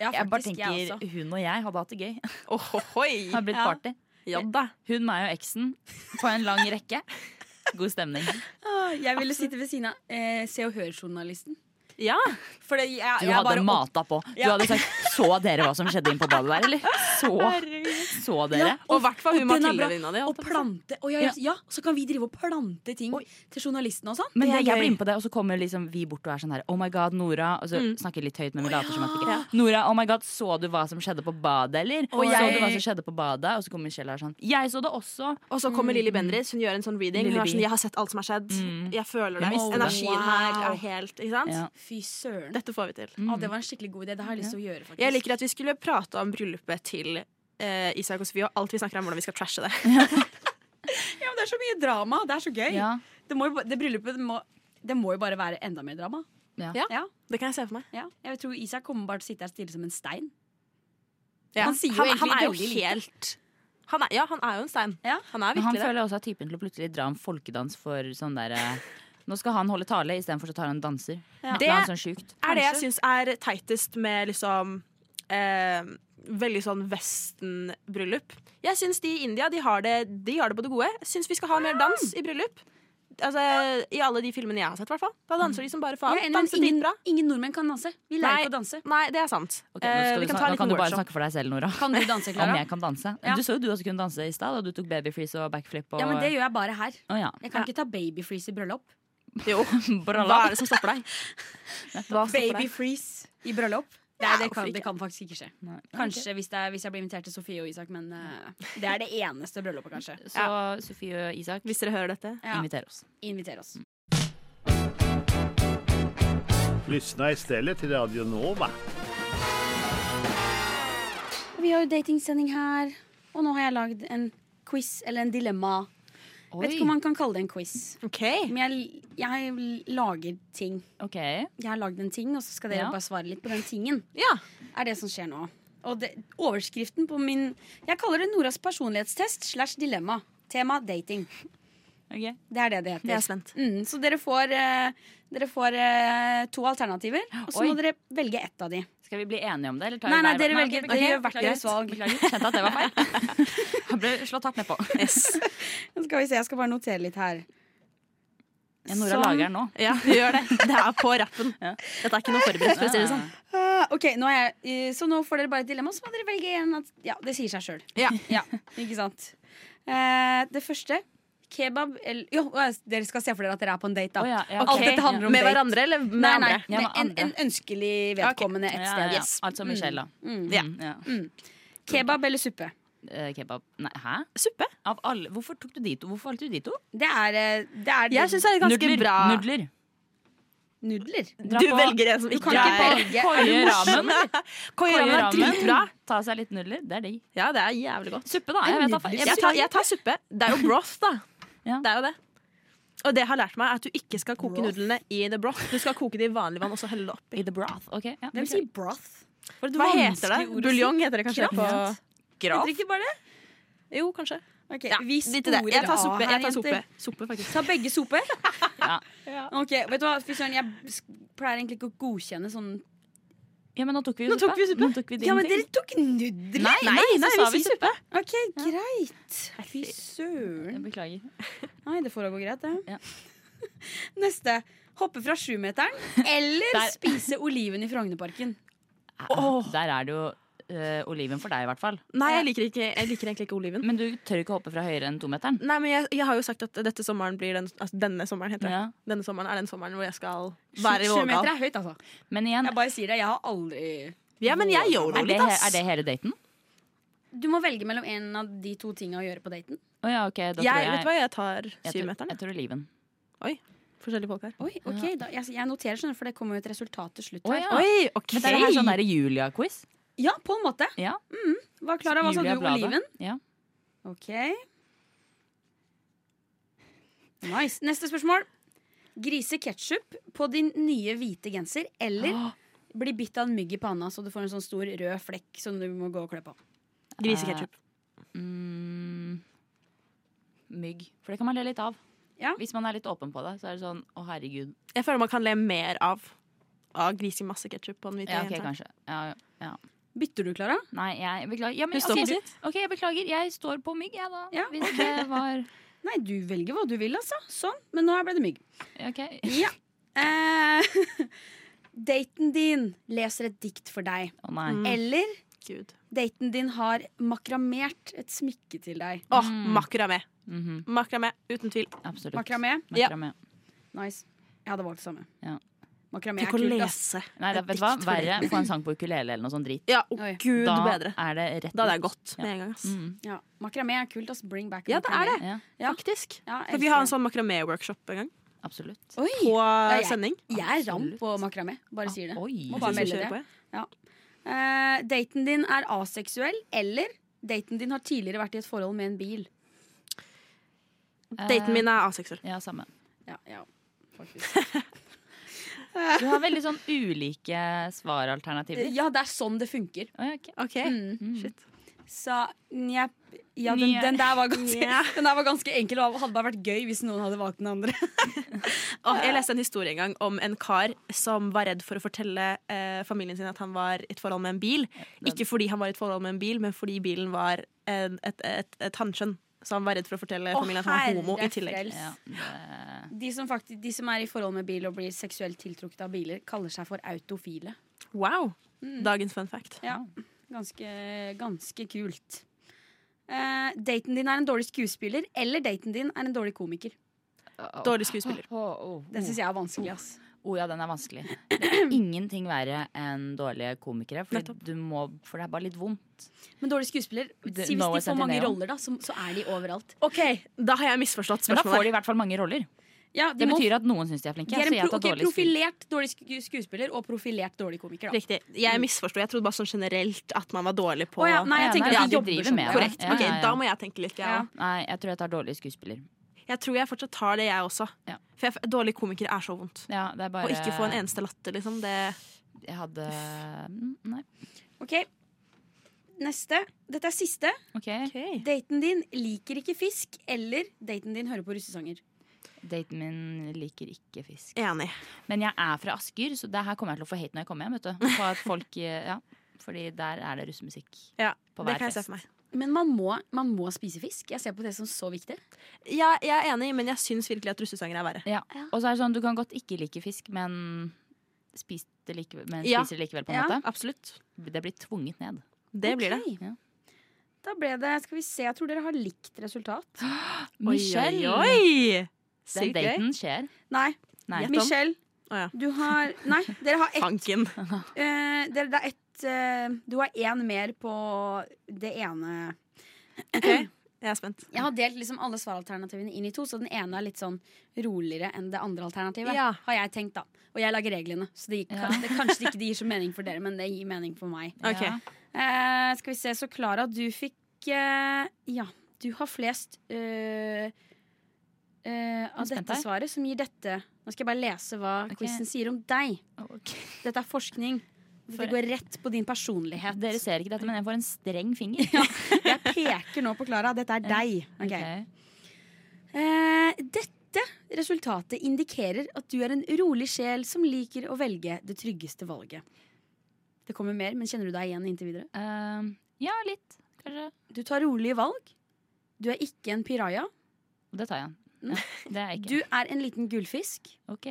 Ja,
Jeg bare
faktisk,
tenker,
jeg også.
Hun og jeg hadde hatt det gøy. (laughs)
Ohohoi!
Har blitt
Ja.
party.
Ja da.
Hun, meg og eksen på en lang rekke. God stemning.
Åh, Jeg ville sitte ved siden av eh, Se og Hør-journalisten.
Ja.
For det- jeg,
Du
jeg er
hadde
bare opp-
mata på. Du hadde sagt 'så dere hva som skjedde inne på badet der',
(laughs)
eller? Så, så dere?
Og i hvert fall hun
og den er
Mathilde
bra.
venninna di. holdt jeg
Og
på å si.
plante og ja, ja, ja, så kan vi drive og plante ting
Oi.
til journalisten og sånn.
Men
Det er
det, jeg
gøy.
blir med på det, og så kommer liksom vi bort og er sånn her Oh my god, Nora. Og så
Mm.
snakker jeg litt høyt, men vi later som at vi ikke Nora, oh my god, så du hva som skjedde på badet, eller?
Og
Så
jeg-
du hva som skjedde på badet? Og så kommer Michelle og er sånn Jeg så det også.
Og så kommer Lilly Bendriss, hun gjør en sånn reading.
Lilly
Hun er
Bee.
sånn, jeg har sett alt som har skjedd. Jeg føler det.
Jeg mister det.
Energien her
Wow. Mm.
er helt Ikke sant?
Ja.
Fy søren.
Dette får vi til.
Å, det var en skikkelig god idé. Det har jeg lyst til å gjøre. faktisk
Jeg liker at vi skulle prate om bryllupet til eh, Isak og Sofie, og alt vi snakker om hvordan vi skal trashe det.
ja, men Det er så mye drama. Det er så gøy.
Ja.
Det, må jo, ba- det bryllupet må, det må jo bare være enda mer drama.
Ja.
Ja.
Ja,
Det kan jeg se for meg.
ja. Jeg tror Isak kommer bare til å sitte her stille som en stein.
Ja.
Han sier jo
han,
egentlig
er jo
veldig lite.
helt han er, Ja, han er jo en stein.
Ja.
Han er
Men han
virkelig det.
føler også at typen til å plutselig dra en folkedans for sånn derre Nå skal han holde tale, istedenfor så tar han en danser. Et
Det-
eller annet sånn sjukt.
Er det jeg syns er teitest med liksom eh, Veldig sånn Vesten-bryllup. Jeg syns de i India de har det, de har det på det gode. Jeg syns vi skal ha
Ah.
mer dans i bryllup. Altså, I alle de filmene jeg har sett, i hvert fall. Da danser de som bare faen.
Jeg er enig, men
Danser
ingen,
dritbra.
ingen nordmenn kan danse. Vi lærer
Nei,
ikke å danse.
nei, det er sant.
Ok, nå,
Eh,
skal
vi
du,
kan
sna-
ta
nå
en
kan
liten
du bare
workshop.
snakke for deg selv, Nora.
Kan du danse,
Om
Klara?
jeg kan danse.
Ja.
Du så jo du også kunne danse i stad, da du tok babyfreeze og backflip. Og,
Ja, men det gjør jeg bare her.
(laughs)
Å ja.
Jeg kan ikke ta babyfreeze i bryllup.
Jo, hva er det som stopper deg? Hva stopper deg?
Babyfreeze i bryllup? Nei, det,
hvorfor
kan, det
ikke?
kan faktisk ikke skje.
Nei, ok.
Kanskje hvis, det er, hvis jeg blir invitert til Sofie og Isak, men eh, det er det eneste bryllupet, kanskje.
Så Sofie og Isak,
Hvis dere hører dette.
Ja,
inviter oss.
inviter Mm. oss.
Lyssna istället till Radio Nova.
Vi har jo datingsending her, og nå har jeg lagd en quiz eller en dilemma. Jeg Vet ikke om man kan kalle det en quiz.
OK.
Men jeg, jeg lager ting.
Ok.
Jeg har lagd en ting, og så skal dere
Ja.
bare svare litt på den tingen.
Ja.
Er det som skjer nå. Og det, overskriften på min Jeg kaller det Noras personlighetstest slash dilemma. Tema dating.
ok.
Det er det det heter.
Jeg er spent.
Mm, så dere får, eh, dere får eh, to alternativer, og så
Oi.
må dere velge ett av de.
Skal vi bli enige om det? Eller tar
Nei,
vi
nei,
hver-
dere
ok,
velger-
beklager.
dere gjør hvert
Beklager.
deres valg.
Beklager. Kjente at det (laughs) var feil. Han ble slått hardt nedpå.
Nå skal vi se, Jeg skal bare notere litt her.
Ja, Nora
Sånn.
lager den nå.
Ja, gjør det. Det er på rappen. Dette er ikke noe forberedt. for å si det sånn.
Ah, ok, nå er jeg, eh, Så nå får dere bare et dilemma, så må dere velge en. At, ja, det sier seg sjøl.
Ja.
Ikke sant? Eh, det første kebab eller, Jo, eh, dere skal se for dere at dere er på en date, da.
Å, ja, ja.
Alt
Ok.
dette handler om
Med
date.
hverandre eller med
Nei, nei,
andre?
Ja,
nei,
med
en,
andre.
en ønskelig vedkommende et
Ja,
sted.
ja, ja.
Yes.
Altså Michelle, da.
Mm.
Ja.
Mm, ja.
Kebab eller suppe?
Eh, Kebab. Nei, hæ?
Suppe?
Av alle, hvorfor tok du de to? Hvorfor valgte du de to?
Det er, eh, det er
Jeg syns det er ganske
Nudler.
bra.
Nudler.
nudler.
Dra
Du
på
velger en som
Du
ikke
kan ikke
er
velge. Er
Koie
du
(laughs)
ramen.
Koi
Koie
ramen er
ramen.
dritbra.
Ta seg litt nudler. Det er digg.
Ja, det er jævlig godt.
Suppe, da. Jeg, vet, da, faen. jeg,
Jeg tar, jeg tar suppe. Det er jo broth, da.
Ja.
Det er jo det. Og det jeg har lært meg, er at du ikke skal koke
Broth?
nudlene i the broth. Du skal koke det i vanlig vann og så helle det oppi.
I the broth. Ok. Ja.
Hvem sier broth?
Hva heter det? Buljong heter det kanskje på
Kraft?
Heter
Graf?
det ikke bare det?
Jo, kanskje.
Ok,
Ja,
vi
Litt i det.
sporer
Jeg tar
av
suppe.
her,
Jeg tar suppe.
jenter.
Suppe, faktisk.
Ta begge soper?
Ja.
Ok, vet du hva, fy søren, jeg s- pleier egentlig ikke å godkjenne sånn
Ja, men nå tok vi jo
Nå tok vi suppe.
Nå tok vi din
Ja, men
til.
dere tok nudler!
Nei, nei,
nei, vi
så sa vi
sier
suppe.
Ok, greit. Fy søren.
Jeg beklager.
Nei, det får da gå greit, det.
Ja.
(laughs) Neste. Hoppe fra sjumeteren eller
Der.
spise oliven i Frognerparken.
Åh.
Der er det jo eh, oliven for deg, i hvert fall.
Nei, jeg liker, ikke, jeg liker egentlig ikke oliven.
Men du tør ikke hoppe fra høyere enn tometeren.
Nei, men jeg, jeg har jo sagt at dette sommeren blir den, altså denne sommeren heter det.
Ja.
Denne sommeren er den sommeren hvor jeg skal
Sju
være i
sju meter
Vågal.
er høyt, altså.
Men igjen,
Jeg bare sier det, jeg har aldri
Ja, men jeg gjør
er
det
det,
litt,
he-
ass.
er det hele daten?
Du må velge mellom en av de to tinga å gjøre på daten.
Å ja, ok. Da tror
Jeg,
jeg,
vet du hva, jeg tar
jeg tror-
syvmeteren. jeg.
Jeg tror oliven.
Forskjellige folk her.
Oi, ok, da, jeg, jeg noterer, skjønner, for det kommer jo et resultat til slutt.
Å
her
ja.
Oi, ok.
Men det er det her sånn der Julia-quiz.
Ja, på en måte. Mm,
Ja.
Hva, Klara, hva sa du?
Julia Bladet.
Oliven?
Ja.
Ok. Nice. Neste spørsmål. Grise ketsjup på din nye hvite genser eller bli bitt av en mygg i panna så du får en sånn stor rød flekk som du må gå og klø på.
(gasps)
Griseketchup.
Eh. Mm, mygg. For det kan man le litt av.
Ja.
Hvis man er litt åpen på det, så er det sånn å herregud.
Jeg føler man kan le mer av av grisemasse ketsjup på den hvite
Ja, ok,
jenta.
kanskje. Ja, ja.
Bytter du, Klara?
Nei, jeg beklager. Ja, men,
Hun står
ok,
på sitt.
ok, jeg beklager. Jeg står på mygg, jeg, da.
Ja.
Hvis det var
Nei, du velger hva du vil, altså. Sånn. Men nå ble det mygg.
Ok.
Ja. Eh, (laughs) daten din leser et dikt for deg.
Å nei.
Mm.
Eller
Gud.
daten din har makramert et smykke til deg.
Åh,
Mm.
makramé.
Mhm,
Makramé, uten tvil.
Absolutt.
Makramé?
Ja.
Makramé.
Nice. Jeg hadde valgt det samme.
Ja.
Makramé er
Tenk å
kult, ass.
lese.
Nei, da, vet du hva? Verre få en sang på ukulele eller noe sånn dritt.
Ja, å
Oi.
gud
Da
bedre.
er det rett
Da hadde jeg
ut.
gått med en gang. ass.
Mm.
Ja, Makramé er kult, ass. Bring back
Ja, det er
makramé.
Ja,
Ja.
Faktisk.
Ja,
Skal vi ha en sånn makramé-workshop en gang?
absolutt.
Oi!
På
jeg-
sending?
Jeg er ram
Absolutt.
på makramé. Bare sier det.
Ah, oi.
Må bare
Jeg synes vi
melde
kjører
det.
på, jeg.
Eh, daten din er aseksuell, eller daten din har tidligere vært i et forhold med en bil.
Daten min er aseksuell.
Eh, Ja, samme.
Ja, ja, faktisk.
Du har veldig sånn ulike svaralternativer.
(laughs) ja, det er sånn det funker. Mm.
Å, ja, ok.
OK. Mm, Shit.
Så njepp. Ja, den,
Njepp.
den, der var ganske, (laughs) den der var ganske enkel og hadde bare vært gøy hvis noen hadde valgt den andre.
Åh, jeg leste en historie en gang om en kar som var redd for å fortelle eh, familien sin at han var i et forhold med en bil. Ikke fordi han var i et forhold med en bil, men fordi bilen var en, et, et, et hannskjønn. Så han var redd for å fortelle
Å,
familien at han var homo i
herre
tillegg.
frels.
Ja, det...
De som, faktisk, de som er i forhold med bil og blir seksuelt tiltrukket av biler, kaller seg for autofile.
Wow!
Mm.
Dagens fun fact.
Ja, ganske, ganske kult. Eh, daten din er en dårlig skuespiller, eller daten din er en dårlig komiker.
Dårlig skuespiller.
Å, å, å.
Den syns jeg er vanskelig. ass
Å Oh, ja, den er vanskelig. Det er ingenting verre enn dårlige komikere, for,
Nettopp.
du må, for det er bare litt vondt.
Men dårlig skuespiller,
Det-
si hvis
no
de
is
får mange
anti-neo.
roller, da, så, så er de overalt.
OK, da har jeg misforstått
Men da får
spørsmålet.
de i hvert fall mange roller.
Ja, de
Det
må-
betyr at noen syns de er flinke.
de er
Så
en
jeg
pro
tar
ok,
dårlig skuespill.
profilert dårlig sk- skuespiller og profilert dårlig komiker. Da.
Riktig. Jeg misforsto. Jeg trodde bare sånn generelt at man var dårlig på
Å ja, nei, jeg
Ja,
tenker
nei,
at
ja,
de
de
jobber
driver
sånn.
med det.
Korrekt.
Ja,
ok,
ja, ja.
Da må jeg tenke litt. Ja.
Ja.
Nei, jeg tror jeg tar dårlig skuespiller.
Jeg tror jeg fortsatt tar det, jeg også.
Ja.
For jeg, dårlig komiker er så vondt.
Ja, det er bare
Å ikke få en eneste latter, liksom. Det,
Jeg hadde mm, Nei.
Ok, Neste. Dette er siste.
OK.
Daten din liker ikke fisk, eller daten din hører på russesanger.
Daten min liker ikke fisk.
Enig.
Men jeg er fra Asker, så det her kommer jeg til å få hate når jeg kommer hjem. Vet du. For at folk, (laughs) ja, fordi der er det russemusikk.
Ja,
På
det
hver
kan jeg se
fest.
for meg.
Men man må, man må spise fisk. Jeg ser på det som så viktig.
Ja, jeg er enig, men jeg syns virkelig at russesanger er verre.
Ja. Og så er det sånn, du kan godt ikke like fisk, men spis det likevel, men
Ja.
spiser det likevel på en
Ja.
måte.
Absolutt.
Det blir tvunget ned.
Det blir det.
Ok.
Ja.
Da ble det Skal vi se, jeg tror dere har likt
(gasps)
resultat.
Michelle!
Oi, oi, oi!
Den
Sykt gøy.
daten skjer.
Nei,
Nei.
Gjett om.
Michelle.
Å ja.
Du har Nei, dere
(laughs)
har ett.
Fanken.
eh, dere, det er ett eh, du har én mer på det ene
Jeg er spent.
Jeg har delt liksom alle svaralternativene inn i to, så den ene er litt sånn roligere enn det andre alternativet.
Ja.
Har jeg tenkt, da. Og jeg lager reglene, så det, gir,
Ja.
(laughs) det kanskje ikke det gir så mening for dere, men det gir mening for meg.
Ok.
Ja.
Eh, skal vi se, så Klara, du fikk eh, Ja, du har flest eh, eh, av
spent
dette
her.
svaret, som gir dette. Nå skal jeg bare lese hva
Ok.
quizen sier om deg.
Ok.
Dette er forskning.
For-
Det går rett på din personlighet.
Dere ser ikke dette, men jeg får en streng finger.
Jeg peker nå på Klara. Dette er deg. Ok.
Ok.
Eh, dette resultatet indikerer at du er en rolig sjel som liker å velge det tryggeste valget. Det kommer mer, men kjenner du deg igjen inntil videre?
Ehm, ja, litt, kanskje.
Du tar rolige valg. Du er ikke en piraja.
Det tar jeg. Ja, det er jeg ikke.
Du er en liten gullfisk.
Ok.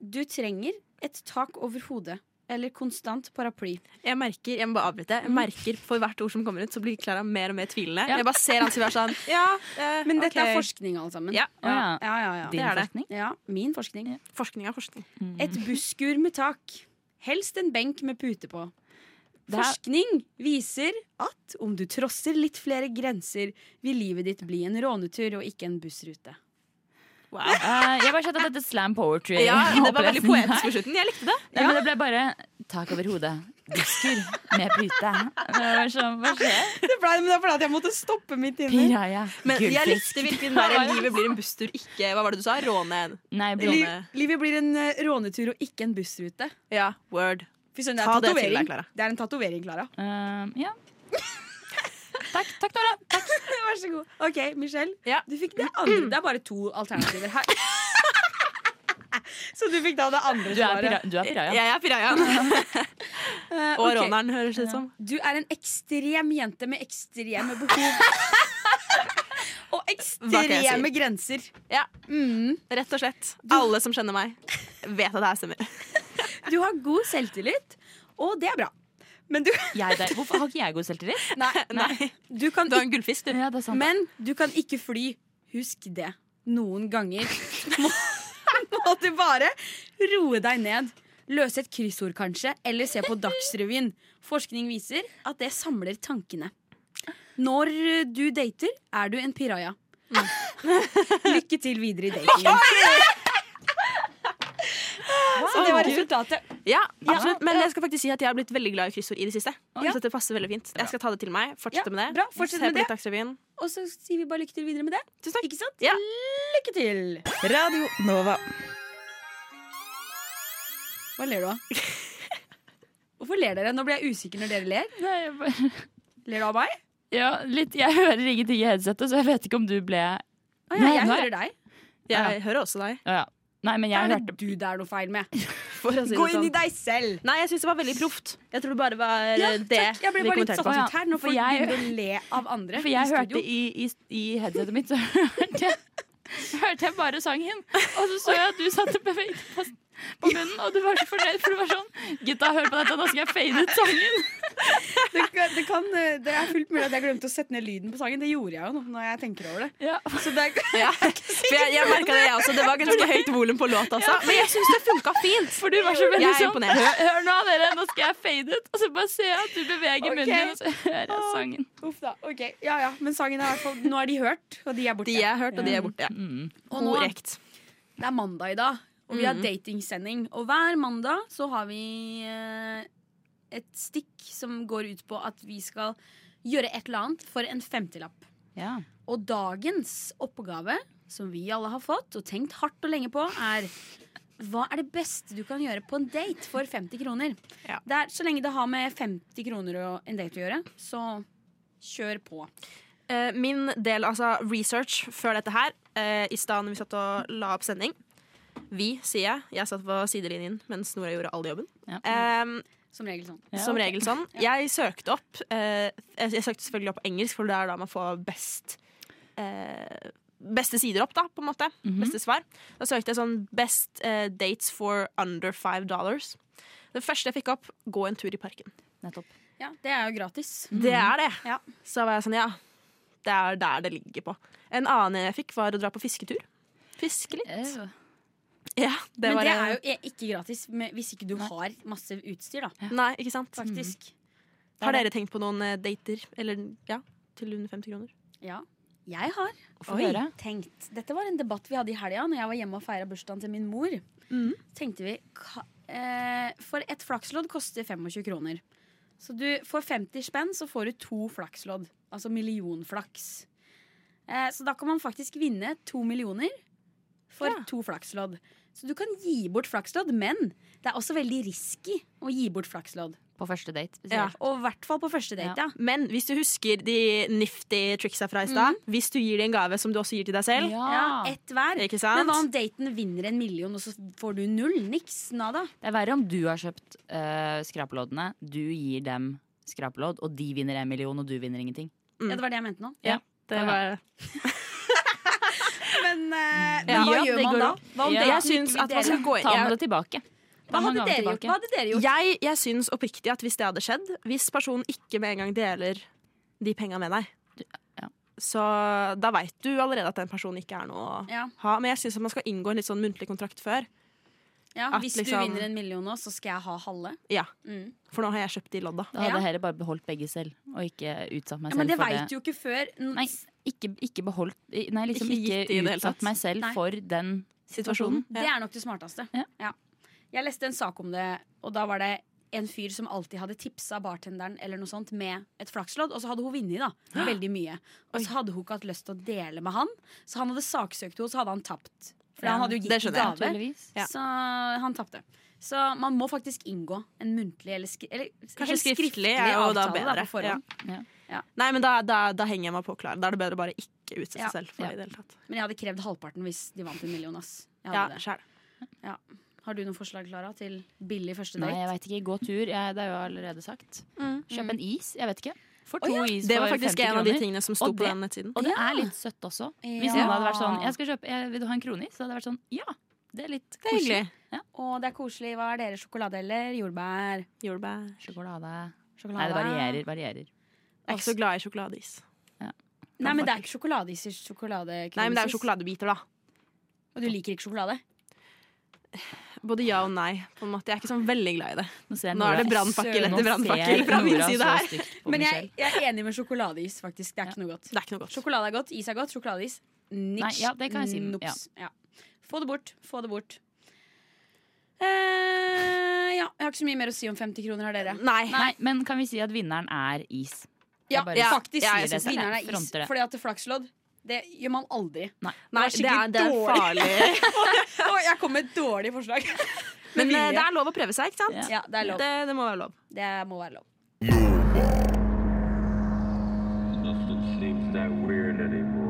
Du trenger et tak over hodet. Eller konstant paraply.
Jeg merker, jeg må bare avbryte Jeg merker for hvert ord som kommer ut, så blir Klara mer og mer tvilende.
Mm. Ja.
Jeg bare ser han som er sånn
(laughs)
ja, eh,
Men dette
ok.
er forskning, alle sammen.
Ja.
Å ja.
ja, ja, ja.
Din
er det.
forskning?
ja min forskning.
forskning er forskning.
Et busskur med tak. Helst en benk med pute på.
Det er-
Forskning viser at om du trosser litt flere grenser, vil livet ditt bli en rånetur og ikke en bussrute.
Wow.
Eh, jeg har bare sett at dette slam poetry
Ja, det var veldig
opplesningen
poetisk
her.
på slutten. Jeg likte det.
Nei, men det ble bare tak over hodet, busker med pute. Det var sånn, Hva skjer?
(laughs) Det ble det fordi jeg måtte stoppe mitt
Piraja.
Men jeg
Gullfisk.
likte virkelig
(laughs)
den der livet blir en busstur, ikke Hva var det du sa? Råne en
Nei, blå.
Liv-
Livet blir en eh, rånetur og ikke en bussrute.
Ja, word.
Fy søren, det
Ta
er
det til deg,
tatovering.
Clara.
Det er en tatovering, Klara.
Eh, ja.
(laughs)
Takk, takk, Nora. Takk.
Vær så god. OK, Michelle.
Ja.
Du fikk det (clears throat) andre. Det er bare to alternativer (laughs) her. Så du fikk da det andre
Du er, pira,
svaret.
du er piraja.
Jeg er (laughs) pirajaen.
Eh,
Og
ok.
råneren, høres det ut som.
Du er en ekstrem jente med ekstreme behov.
(laughs)
Og
Hva kan jeg
ekstreme grenser.
Ja,
Mm.
Rett og slett. Alle som kjenner meg, vet at det her stemmer.
Du har god selvtillit, og det er bra. Men du,
Jeg der. Hvorfor har ikke jeg god selvtillit?
nei,
(laughs) Nei.
du, kan
Du har en
ikke,
gullfisk, du.
Ja, det er sant.
men du kan ikke fly. Husk det. Noen ganger (laughs) må, må du bare roe deg ned. Løse et kryssord, kanskje, eller se på Dagsrevyen. Forskning viser at det samler tankene. Når du dater, er du en piraja. Lykke til videre i datingen. Så det var resultatet.
Ja, absolutt. Men jeg skal faktisk si at jeg har blitt veldig glad i kryssord i det siste. Så dette passer veldig fint. Jeg skal ta det til meg.
Ja,
Fortsette med det.
bra. Fortsett
Se
med
på
det.
litt Dagsrevyen.
Og så sier vi bare lykke til videre med det.
Tusen takk.
Ikke sant?
Ja.
Lykke til!
Radio Nova.
Hva ler du av? (laughs) Hvorfor ler dere? Nå blir jeg usikker når dere ler.
Nei, jeg bare...
Ler du av meg?
ja, litt. Jeg hører ingenting i headsetet, så jeg vet ikke om du ble Å
Å, ja,
Nei,
jeg
nei.
hører deg.
Jeg hører også deg.
ja. Nei, men
Hva
jeg
er
hørte
det du det er noe feil med?
For å si
Gå
det
inn
sånn.
i deg selv!
Nei, jeg syns det var veldig proft. Jeg tror det bare var eh,
Ja,
det
takk. Jeg
vi
ble bare litt
kommenterte
satt
på.
på.
ut her nå,
For
for jeg
jeg-
begynner å le av andre.
For jeg
i studio.
hørte
(laughs)
i, i, i headsetet mitt, så (laughs) hørte jeg, hørte jeg bare sangen. Og så så jeg at du satt og beveget på, på munnen, og du var så fornøyd, for du var sånn Gutta, hør på dette, nå skal jeg fade ut sangen.
det, kan- det, kan, eh, det er fullt mulig at jeg glemte å sette ned lyden på sangen. Det gjorde jeg jo nå, når jeg tenker over det.
Ja.
Så det er, (laughs)
(laughs) Ja. For jeg, jeg merket det, jeg også. Det var ganske høyt volum på låta også. Men jeg syns det funka fint.
For du var så veldig
Jeg er
sånn
imponert.
hør, hør nå, dere, nå skal jeg fade ut. Og så bare ser jeg at du beveger
Ok.
munnen din, og så hører jeg sangen.
uff da. Ok, ja ja. Men sangen er i hvert fall Nå er de hørt, og de er borte.
De jeg har hørt, og de er borte. Ja.
Mm.
Og nå,
Korrekt.
Det er mandag i dag, og vi har datingsending. Og hver mandag så har vi eh, et stikk som går ut på at vi skal gjøre et eller annet for en femtilapp.
Ja.
Og dagens oppgave, som vi alle har fått og tenkt hardt og lenge på, er hva er det beste du kan gjøre på en date for 50 kroner?
Ja.
Det er, så lenge det har med 50 kroner og en date å gjøre, så kjør på.
Eh, min del, altså research før dette her, eh, i stedet når vi satt og la opp sending Vi, sier jeg. Jeg satt på sidelinjen mens Nora gjorde all jobben.
Ja.
Eh,
Som regel sånn.
Ja,
som
ok.
regel sånn. Jeg søkte opp eh, Jeg jeg søkte selvfølgelig opp på engelsk, for det er da man får best eh, Beste sider opp, da, på en måte.
Mhm.
Beste svar. Da søkte jeg sånn Best eh, dates for under five dollars. Det første jeg fikk opp, gå en tur i parken.
Nettopp.
Ja, det er jo gratis.
Det er det.
Mm. Ja.
Så var jeg sånn, ja. Det er der det ligger på. En annen jeg fikk, var å dra på fisketur. Fiske litt.
Eh,
Ja, det
Men
var
det
en-
er jo e- ikke gratis med, hvis ikke du har masse utstyr, da.
Nei, ikke sant? Mm.
Faktisk.
Har dere tenkt på noen eh, dater? Eller ja, til under 50 kroner?
Ja. Jeg har
Få høre.
tenkt Dette var en debatt vi hadde i helga Når jeg var hjemme og feira bursdagen til min mor.
Mhm.
Tenkte vi ka- eh, For et flakslodd koster 25 kroner. Så du for 50 spenn så får du to flakslodd. Altså millionflaks. Eh, så da kan man faktisk vinne to millioner for to flakslodd. Så du kan gi bort flakslodd, men det er også veldig risky å gi bort flakslodd.
På første date.
Ja.
spesielt.
Og i hvert fall på første date, ja.
Men hvis du husker de nifty tricksa fra i stad, hvis du gir dem en gave som du også gir til deg selv
Mm.
Ah.
Ja, ett hver.
Ikke sant?
Men hva om daten vinner en million, og så får du null? Niks. Nada.
Mm.
Det er verre om du har kjøpt eh, skrapeloddene, du gir dem skrapelodd, og de vinner en million, og du vinner ingenting.
Ja, det var det jeg mente nå.
det var,
Men eh,
Ja,
hva
Mm. ja,
gjør
det
man
går
da?
opp.
Hva om
Ja.
daten
Jeg syns
ikke vil
at man
dele?
skal gå inn
Ta med
jeg,
det tilbake. Ta
Hva
med
hadde
gaven
dere gjort?
tilbake.
Hva hadde dere gjort?
jeg, jeg syns oppriktig at hvis det hadde skjedd, hvis personen ikke med en gang deler de penga med deg,
ja.
så da veit du allerede at den personen ikke er noe å
Ja.
ha. Men jeg syns man skal inngå en litt sånn muntlig kontrakt før.
Ja,
At
hvis
liksom-
du vinner en million nå, så skal jeg ha halve.
Ja,
Mm.
For nå har jeg kjøpt de lodda.
Da hadde
Ja.
jeg heller bare beholdt begge selv, og ikke utsatt meg selv
Ja, men det
for
veit
det.
du jo ikke før. N-
Nei, ikke, ikke beholdt Nei, liksom
Ikke gitt
ikke,
det i det hele tatt.
utsatt meg selv
Nei.
for den
Situasjonen.
Det er nok det smarteste.
Ja.
Jeg leste en sak om det, og da var det en fyr som alltid hadde tipsa bartenderen eller noe sånt med et flakslodd, og så hadde hun vunnet, da. Veldig mye. Og så hadde hun ikke hatt lyst til å dele med han, så han hadde saksøkt henne, og så hadde han tapt. For
Ja,
han hadde jo
det
gitt
skjønner
i
jeg.
gave.
Naturligvis.
Ja.
Så han tapte. Så man må faktisk inngå en muntlig eller, skri eller
Kanskje
helst
skriftlig er jo da
avtale,
bedre.
på forhånd.
Nei, men da, da, da henger jeg meg på klar. Da er det bedre å bare ikke utsette
Ja.
seg selv for
Ja.
det i det hele tatt.
Men jeg hadde krevd halvparten hvis de vant en million. Ass. Jeg
Ja,
hadde det.
skjær.
Har du noen forslag Clara, til billig første
Nei,
date?
jeg veit ikke. Gå tur. Jeg, det er jo allerede sagt. Kjøp en is. Jeg vet ikke. For to is
Det var
for
faktisk
50
en av de
kroner.
tingene som sto
Og
på
det-
den nettsiden.
Og det er litt søtt også. Hvis
Ja.
noen hadde vært sånn jeg skal kjøpe, jeg, 'Vil du ha en kronis?' Så hadde jeg vært sånn Ja! Det er litt
Det er hyggelig.
Og det er koselig. Hva er dere? Sjokolade eller jordbær?
Jordbær.
Sjokolade.
Sjokolade.
Nei, det varierer. varierer.
Jeg er ikke så glad i sjokoladeis.
Nei, men det er ikke sjokoladeis i sjokoladekrisis.
Nei, men det er jo sjokoladebiter, da.
Og du liker ikke sjokolade?
Både ja og nei. på en måte. Jeg er ikke sånn veldig glad i det.
Nå, ser jeg
Nå er det
Nora-
brannfakkel
Nå
etter brannfakkel
ser
fra min
Nora
side
så
her.
stygt på
Men jeg,
Michelle.
jeg er enig med sjokoladeis, faktisk. Det er ikke noe godt.
Det er ikke noe godt.
Sjokolade er godt, is er godt, sjokoladeis niks.
Nei, ja, det kan jeg si.
Nops. Ja. Få det bort. Få det bort. Eh, ja, jeg har ikke så mye mer å si om 50 kroner, har dere?
Nei.
Nei, men kan vi si at vinneren er is?
Ja,
bare
ja,
sier
faktisk.
ja, jeg
jeg
synes det.
vinneren er is.
Fronter det.
Fordi at det er flakslodd, det gjør man aldri.
Nei.
Nei,
Det
det
var
er, det er
skikkelig
farlig.
Å, jeg kom med et dårlig forslag.
(laughs) Men
vilje.
eh, det er lov å prøve seg, ikke sant?
Ja, det er lov.
Det, det må være lov.
Det må være lov.
Nothing seems that weird anymore.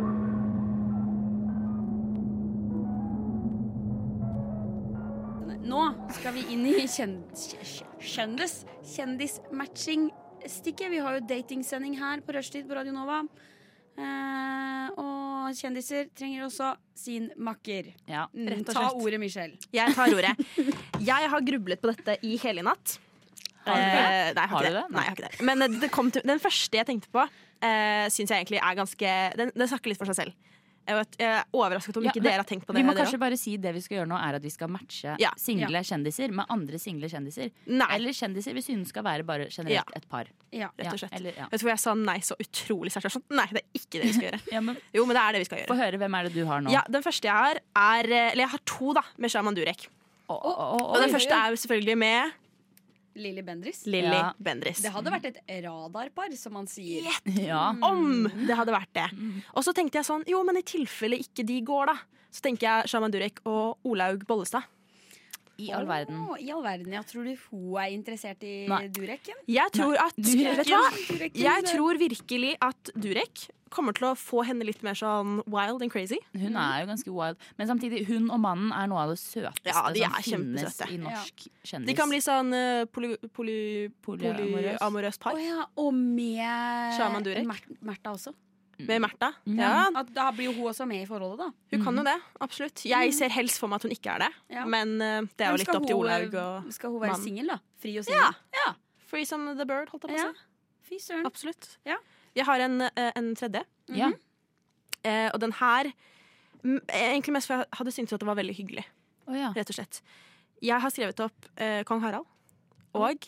Nå skal vi inn i kjen- kj- kjendis kjendismatching-stikket. Vi har jo datingsending her på rushtid på Radio Nova. Eh, og kjendiser trenger også sin makker.
Ja.
Mm,
Rett og
Ta
slett.
ordet, Michelle.
Jeg tar ordet. Jeg har grublet på dette i hele natt.
Har du det?
Eh, nei, jeg
Har
har
du
ikke det?
det?
Nei, jeg har ikke det. Men eh, det kom til, den første jeg tenkte på, uh, syns jeg egentlig er ganske Den, den snakker litt for seg selv. Jeg, vet, jeg er overrasket om
Ja,
ikke
men
dere har tenkt på det.
Vi må
dere
kanskje bare si det vi skal gjøre nå, er at vi skal matche
Ja.
single kjendiser med andre single kjendiser.
også. Nei,
Eller kjendiser vi synes skal være bare
Ja.
generelt et par.
Ja.
rett og slett.
Ja, eller, ja.
Vet du hvor jeg sa nei så utrolig sterkt? Jeg var Sånn, nei, det er ikke det vi skal gjøre.
Ja, men
Jo, men det er det vi skal
Få
gjøre.
høre hvem er det du har nå.
Ja, den første jeg har, er eh, Eller jeg har to, da, med Shaman Durek.
Å, å, å, å,
Og den
oi.
første er jo selvfølgelig med
Lilly Bendriss.
Lilly
Ja.
Bendriss.
Det hadde vært et radarpar, som man sier.
Gjett
ja.
om det hadde vært det. Og så tenkte jeg sånn, jo, men i tilfelle ikke de går, da. Så tenker jeg Shaman Durek og Olaug Bollestad.
I all verden.
Å, I all verden, ja. Tror du hun er interessert i
Nei.
Dureken?
Jeg tror at
Durek.
Vet du hva?
Dureken,
Jeg
det-
tror virkelig at Durek kommer til å få henne litt mer sånn wild and crazy.
Hun er jo ganske wild. Men samtidig, hun og mannen er noe av det søteste
Ja, de er
som finnes
kjempesøte.
i norsk kjendis.
De kan bli sånn eh, poly, poly,
Polyamorøs.
polyamorøst
Å
par
ja, og med
Shaman Durek.
Mer- Märtha også.
med Märtha.
Mm.
Ja,
At da blir jo hun også med i forholdet, da.
hun kan jo det. Absolutt. Jeg ser helst for meg at hun ikke er det,
Mm. Ja.
men eh, det er
Men
jo litt
skal eh,
opp til
hun,
Olaug og
Skal hun være
mannen.
singel, da? Fri og singel?
Free som the bird, holdt jeg på å
Ja.
si.
Fy søren.
Absolutt.
Ja.
Jeg har en, eh, en tredje.
ja.
Eh, og den her m, Egentlig mest for jeg hadde syntes at det var veldig hyggelig.
Å, ja.
Rett og slett Jeg har skrevet opp eh, kong Harald og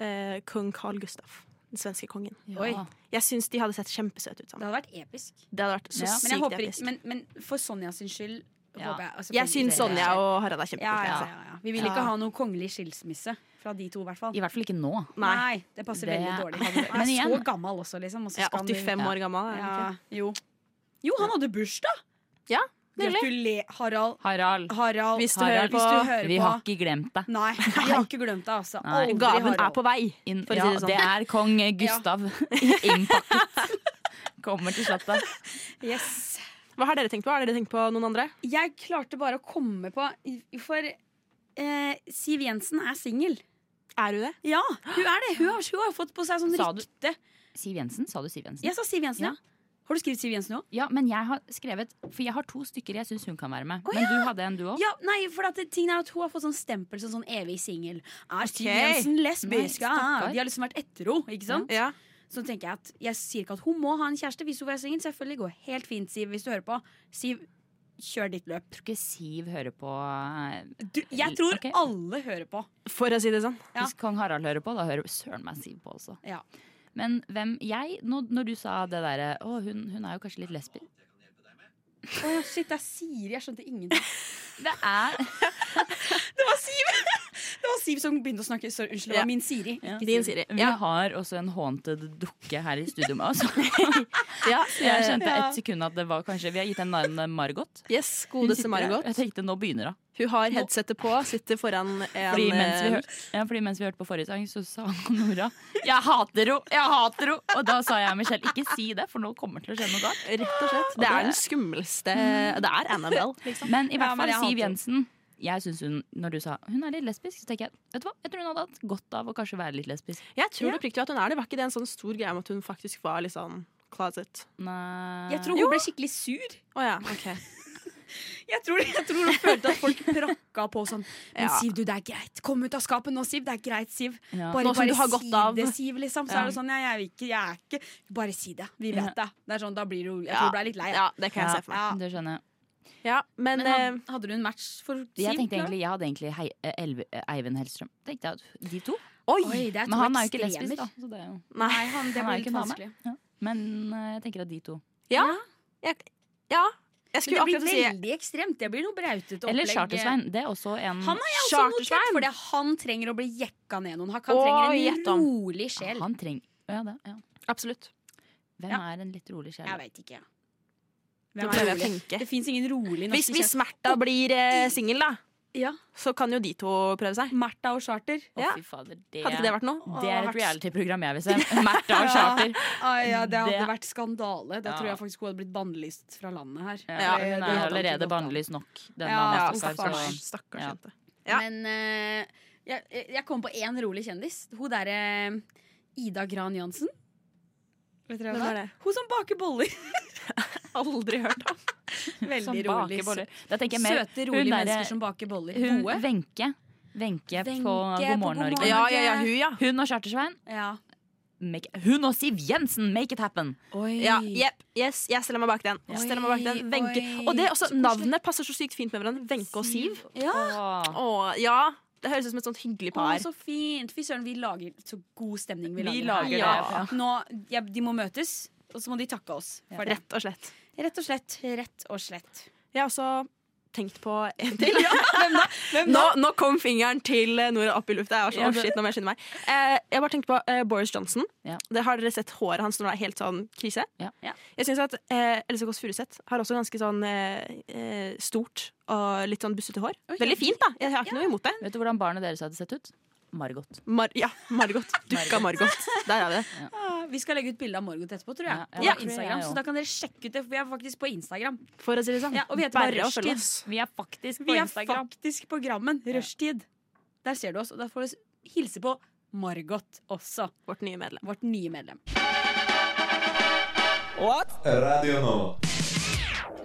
eh, kong Carl Gustaf. Den svenske kongen.
Oi.
Ja.
Jeg syns de hadde sett kjempesøte ut
Det
sammen.
hadde vært episk.
Det hadde vært så
Ja.
Men jeg,
sykt
håper, ikke-
episk.
men, men for Sonja sin skyld
Ja.
håper jeg altså,
Jeg syns
for-
Sonja og Harald er
ja,
kjempeflinke.
ja,
altså.
ja, ja. Vi vil ikke
Ja.
ha noen kongelig skilsmisse fra de to, i hvert fall.
I hvert fall ikke nå.
Nei.
Nei, det passer
Det-
veldig dårlig.
(laughs)
Han
Men
er så
igjen-
gammel også, liksom. Og så
Jeg
skal
er
han bli-
85 år gammel. Er
Ja,
jeg
jo. jo, han hadde bursdag!
Ja, nydelig.
Gratulerer, Harald.
Harald,
Harald,
Hvis du
Harald,
hører på
hvis du hører
vi
på
har ikke glemt deg.
Nei, vi har ikke glemt det, altså.
Nei.
Aldri,
Gaven er
Harald.
på vei.
Inn,
For å si
(laughs) ja,
det sånn.
det er kong Gustav innpakket. Kommer til slottet.
Yes.
Hva har dere tenkt på? Har dere tenkt på noen andre?
Jeg klarte bare å komme på For eh, Siv Jensen er singel.
Er du det?
Ja, hun er det. Hun har, hun har fått på seg sånn
Sa du-
rykte.
(laughs) Siv Jensen? Sa du Siv Jensen?
Jeg sa Siv Jensen, ja. Har du skrevet Siv Jensen òg?
Ja, men jeg har skrevet For jeg har to stykker jeg syns hun kan være med. Men du hadde en, du òg?
Ja, nei, for at det, tingen er at hun har fått sånn stempel som sånn evig singel. Er Siv
Ok.
Jensen lesbisk?
Nei,
ah,
stakkar.
de har liksom vært etter henne, ikke sant?
Ja.
Så tenker jeg at jeg sier ikke at hun må ha en kjæreste hvis hun er singel. Selvfølgelig går helt fint, Siv, hvis du hører på. Siv, kjør ditt løp.
Tror ikke Siv hører på eh,
Du, jeg tror
Ok.
alle hører på.
For å si det sånn.
Ja.
Hvis kong Harald hører på, da hører søren meg Siv på også.
Ja.
Men hvem jeg Når, når du sa det derre Å, hun, hun er jo kanskje litt lesbisk.
Å ja, shit, det er Siri. Jeg skjønte ingenting.
Det er
Det var Siv! (laughs) Det var Siv som begynte å snakke. Sorry, unnskyld, det
Ja.
var min Siri. ikke
Din, Siri.
Vi
Ja.
har også en haunted dukke her i studio med oss. (laughs)
Eh, Ja.
Jeg kjente et sekund at det var kanskje Vi har gitt henne navnet Margot.
Yes, godeste Margot.
Jeg tenkte nå begynner hun.
Hun har headsetet på, sitter foran en
Fordi mens, vi
eh,
hør, ja, fordi mens vi hørte på forrige sang, så sa Nora 'Jeg hater henne! Jeg hater henne!' Og da sa jeg Michelle 'Ikke si det, for nå kommer det til å skje noe galt'.
Rett og slett. Det er den skumleste Det er Annabelle, liksom.
Men i hvert
Ja, men
fall
jeg hater
Siv
henne.
Jensen. Jeg synes hun, Når du sa hun er litt lesbisk, så tenker jeg vet du hva, jeg tror hun hadde hatt godt av å kanskje være litt lesbisk.
Jeg tror oppriktig at hun er det. Var ikke det en sånn stor greie om at hun faktisk var litt sånn closet?
Nei.
Jeg tror hun ble skikkelig sur.
Å ja, ok.
Jeg tror, jeg tror hun følte at folk prakka på sånn. Men
Ja.
Siv, du, det er greit. Kom ut av skapet nå, Siv. Det er greit, Siv.
Ja.
Bare,
Nå som
bare
du har
si
gått av.
det, Siv, liksom. Så
Ja.
er det sånn, ja, jeg, vil ikke, jeg er ikke Bare si det. Vi vet
Ja.
det. det er sånn, da blir hun, jeg
Ja.
tror hun ble litt lei.
Ja, det kan jeg se for meg.
Ja, det skjønner jeg.
Ja, men,
Men hadde, hadde du en match for Siv?
Jeg tenkte
da?
egentlig, jeg hadde egentlig hei, eh, Elve, eh, Eivind Hellstrøm. Tenkte jeg at De to.
eh, Oi!
Oi, det er
Men
to
han er jo ikke
ekstremer.
lesbisk, da. Så det er jo,
Nei.
Nei, han, det
han er jo
blir
ikke
litt
en dame.
vanskelig.
Ja. Men eh, jeg tenker at de to.
Ja. Jeg, ja. jeg
Men
skulle
det
akkurat
blir
si
veldig ekstremt. Det blir noe brautete opplegg.
Eller Chartersvein. Det er også
Mm.
en
Han har jeg også notert,
Chartersvein.
fordi han trenger å bli jekka ned noen. Han kan-
Å,
trenger en
gjett om.
rolig sjel.
Han trenger ja, det, ja.
Absolutt.
Hvem
Ja.
er en litt rolig sjel?
Jeg veit ikke.
Det
Hvem
prøver
er
jeg å
rolig?
tenke.
Det fins ingen rolig
Hvis,
norske
hvis Märtha blir eh, singel, da,
Ja,
så kan jo de to prøve seg.
Märtha og Charter.
Å,
Ja.
fy fader, det,
Hadde ikke det vært noe?
det er
Å,
et reality-program jeg vil
(laughs)
se. Märtha og
Ja.
Charter.
Ah, ja, det hadde
Det-
vært skandale. Da
Ja.
tror jeg faktisk hun hadde blitt bannlyst fra landet her.
Ja, hun
Det- det
er
hadde ikke
allerede
gått an.
bannlyst nok. Denne
Ja,
Ja,
Anastasia, så-
stakkars, stakkars
Ja.
jente. Ja.
Men eh, jeg, jeg kom på én rolig kjendis. Hun derre Ida Gran Jansen. Vet dere
Hvem
hvem
er
det
det?
er? Hun som baker boller.
(laughs) Aldri hørt om.
Som
Veldig rolig.
baker boller. Da tenker jeg mer
Søte, rolige
hun derre-
mennesker som baker boller.
Hun
Gode.
Wenche. Wenche på
Wenche
God morgen,
på God
Norge.
morgen.
Ja, ja, ja, hun, ja.
Hun og Chartersvein.
Ja.
Make, hun og Siv Jensen, make it happen!
Oi.
Ja, jepp, yes, jeg stiller meg bak den. Jeg stiller meg bak den.
Oi,
Wenche.
oi,
Og det er også,
så koselig.
navnet passer så sykt fint med hverandre. Wenche og Siv.
Ja.
Åh.
Åh, ja, Det høres ut som et sånt hyggelig
Å,
par.
så fint. Fy søren, vi lager så god stemning. Vi
Vi
lager,
lager
her.
det, ja.
Nå, ja, de må møtes, og så må de takke oss for det.
Rett og slett.
Rett og slett. Rett og slett.
Jeg har også tenkt på en til. Nå, nå kom fingeren til eh, Nora opp i lufta. Jeg var sånn,
Ja,
«Åh,
det-
shit, nå må jeg skynde meg. Eh, jeg bare tenkte på eh, Boris Johnson.
Ja.
Det har dere sett håret hans når det er helt sånn krise?
Ja.
Ja.
Jeg synes at eh, Else Kåss Furuseth har også ganske sånn eh, eh, stort og litt sånn bussete hår. Veldig fint, da. Jeg har ikke noe imot det.
Vet du hvordan barnet deres hadde sett ut? Margot.
Mar ja, (laughs) Margot. Dukka Margot. Der har vi det.
Ah, Vi skal legge ut bilde av Margot etterpå, tror jeg.
Ja,
På
ja, det tror jeg
Instagram,
også.
Så da kan dere sjekke ut det. for Vi er faktisk på Instagram.
For å si det sånn.
Ja, og vi heter
Bare
bare
å følge
Rushtid.
oss.
Vi er faktisk på
Vi er
Instagram.
faktisk på Grammen. Rushtid. Der ser du oss, og da får du hilse på Margot også.
Vårt nye medlem.
Vårt nye medlem.
Radio Nova.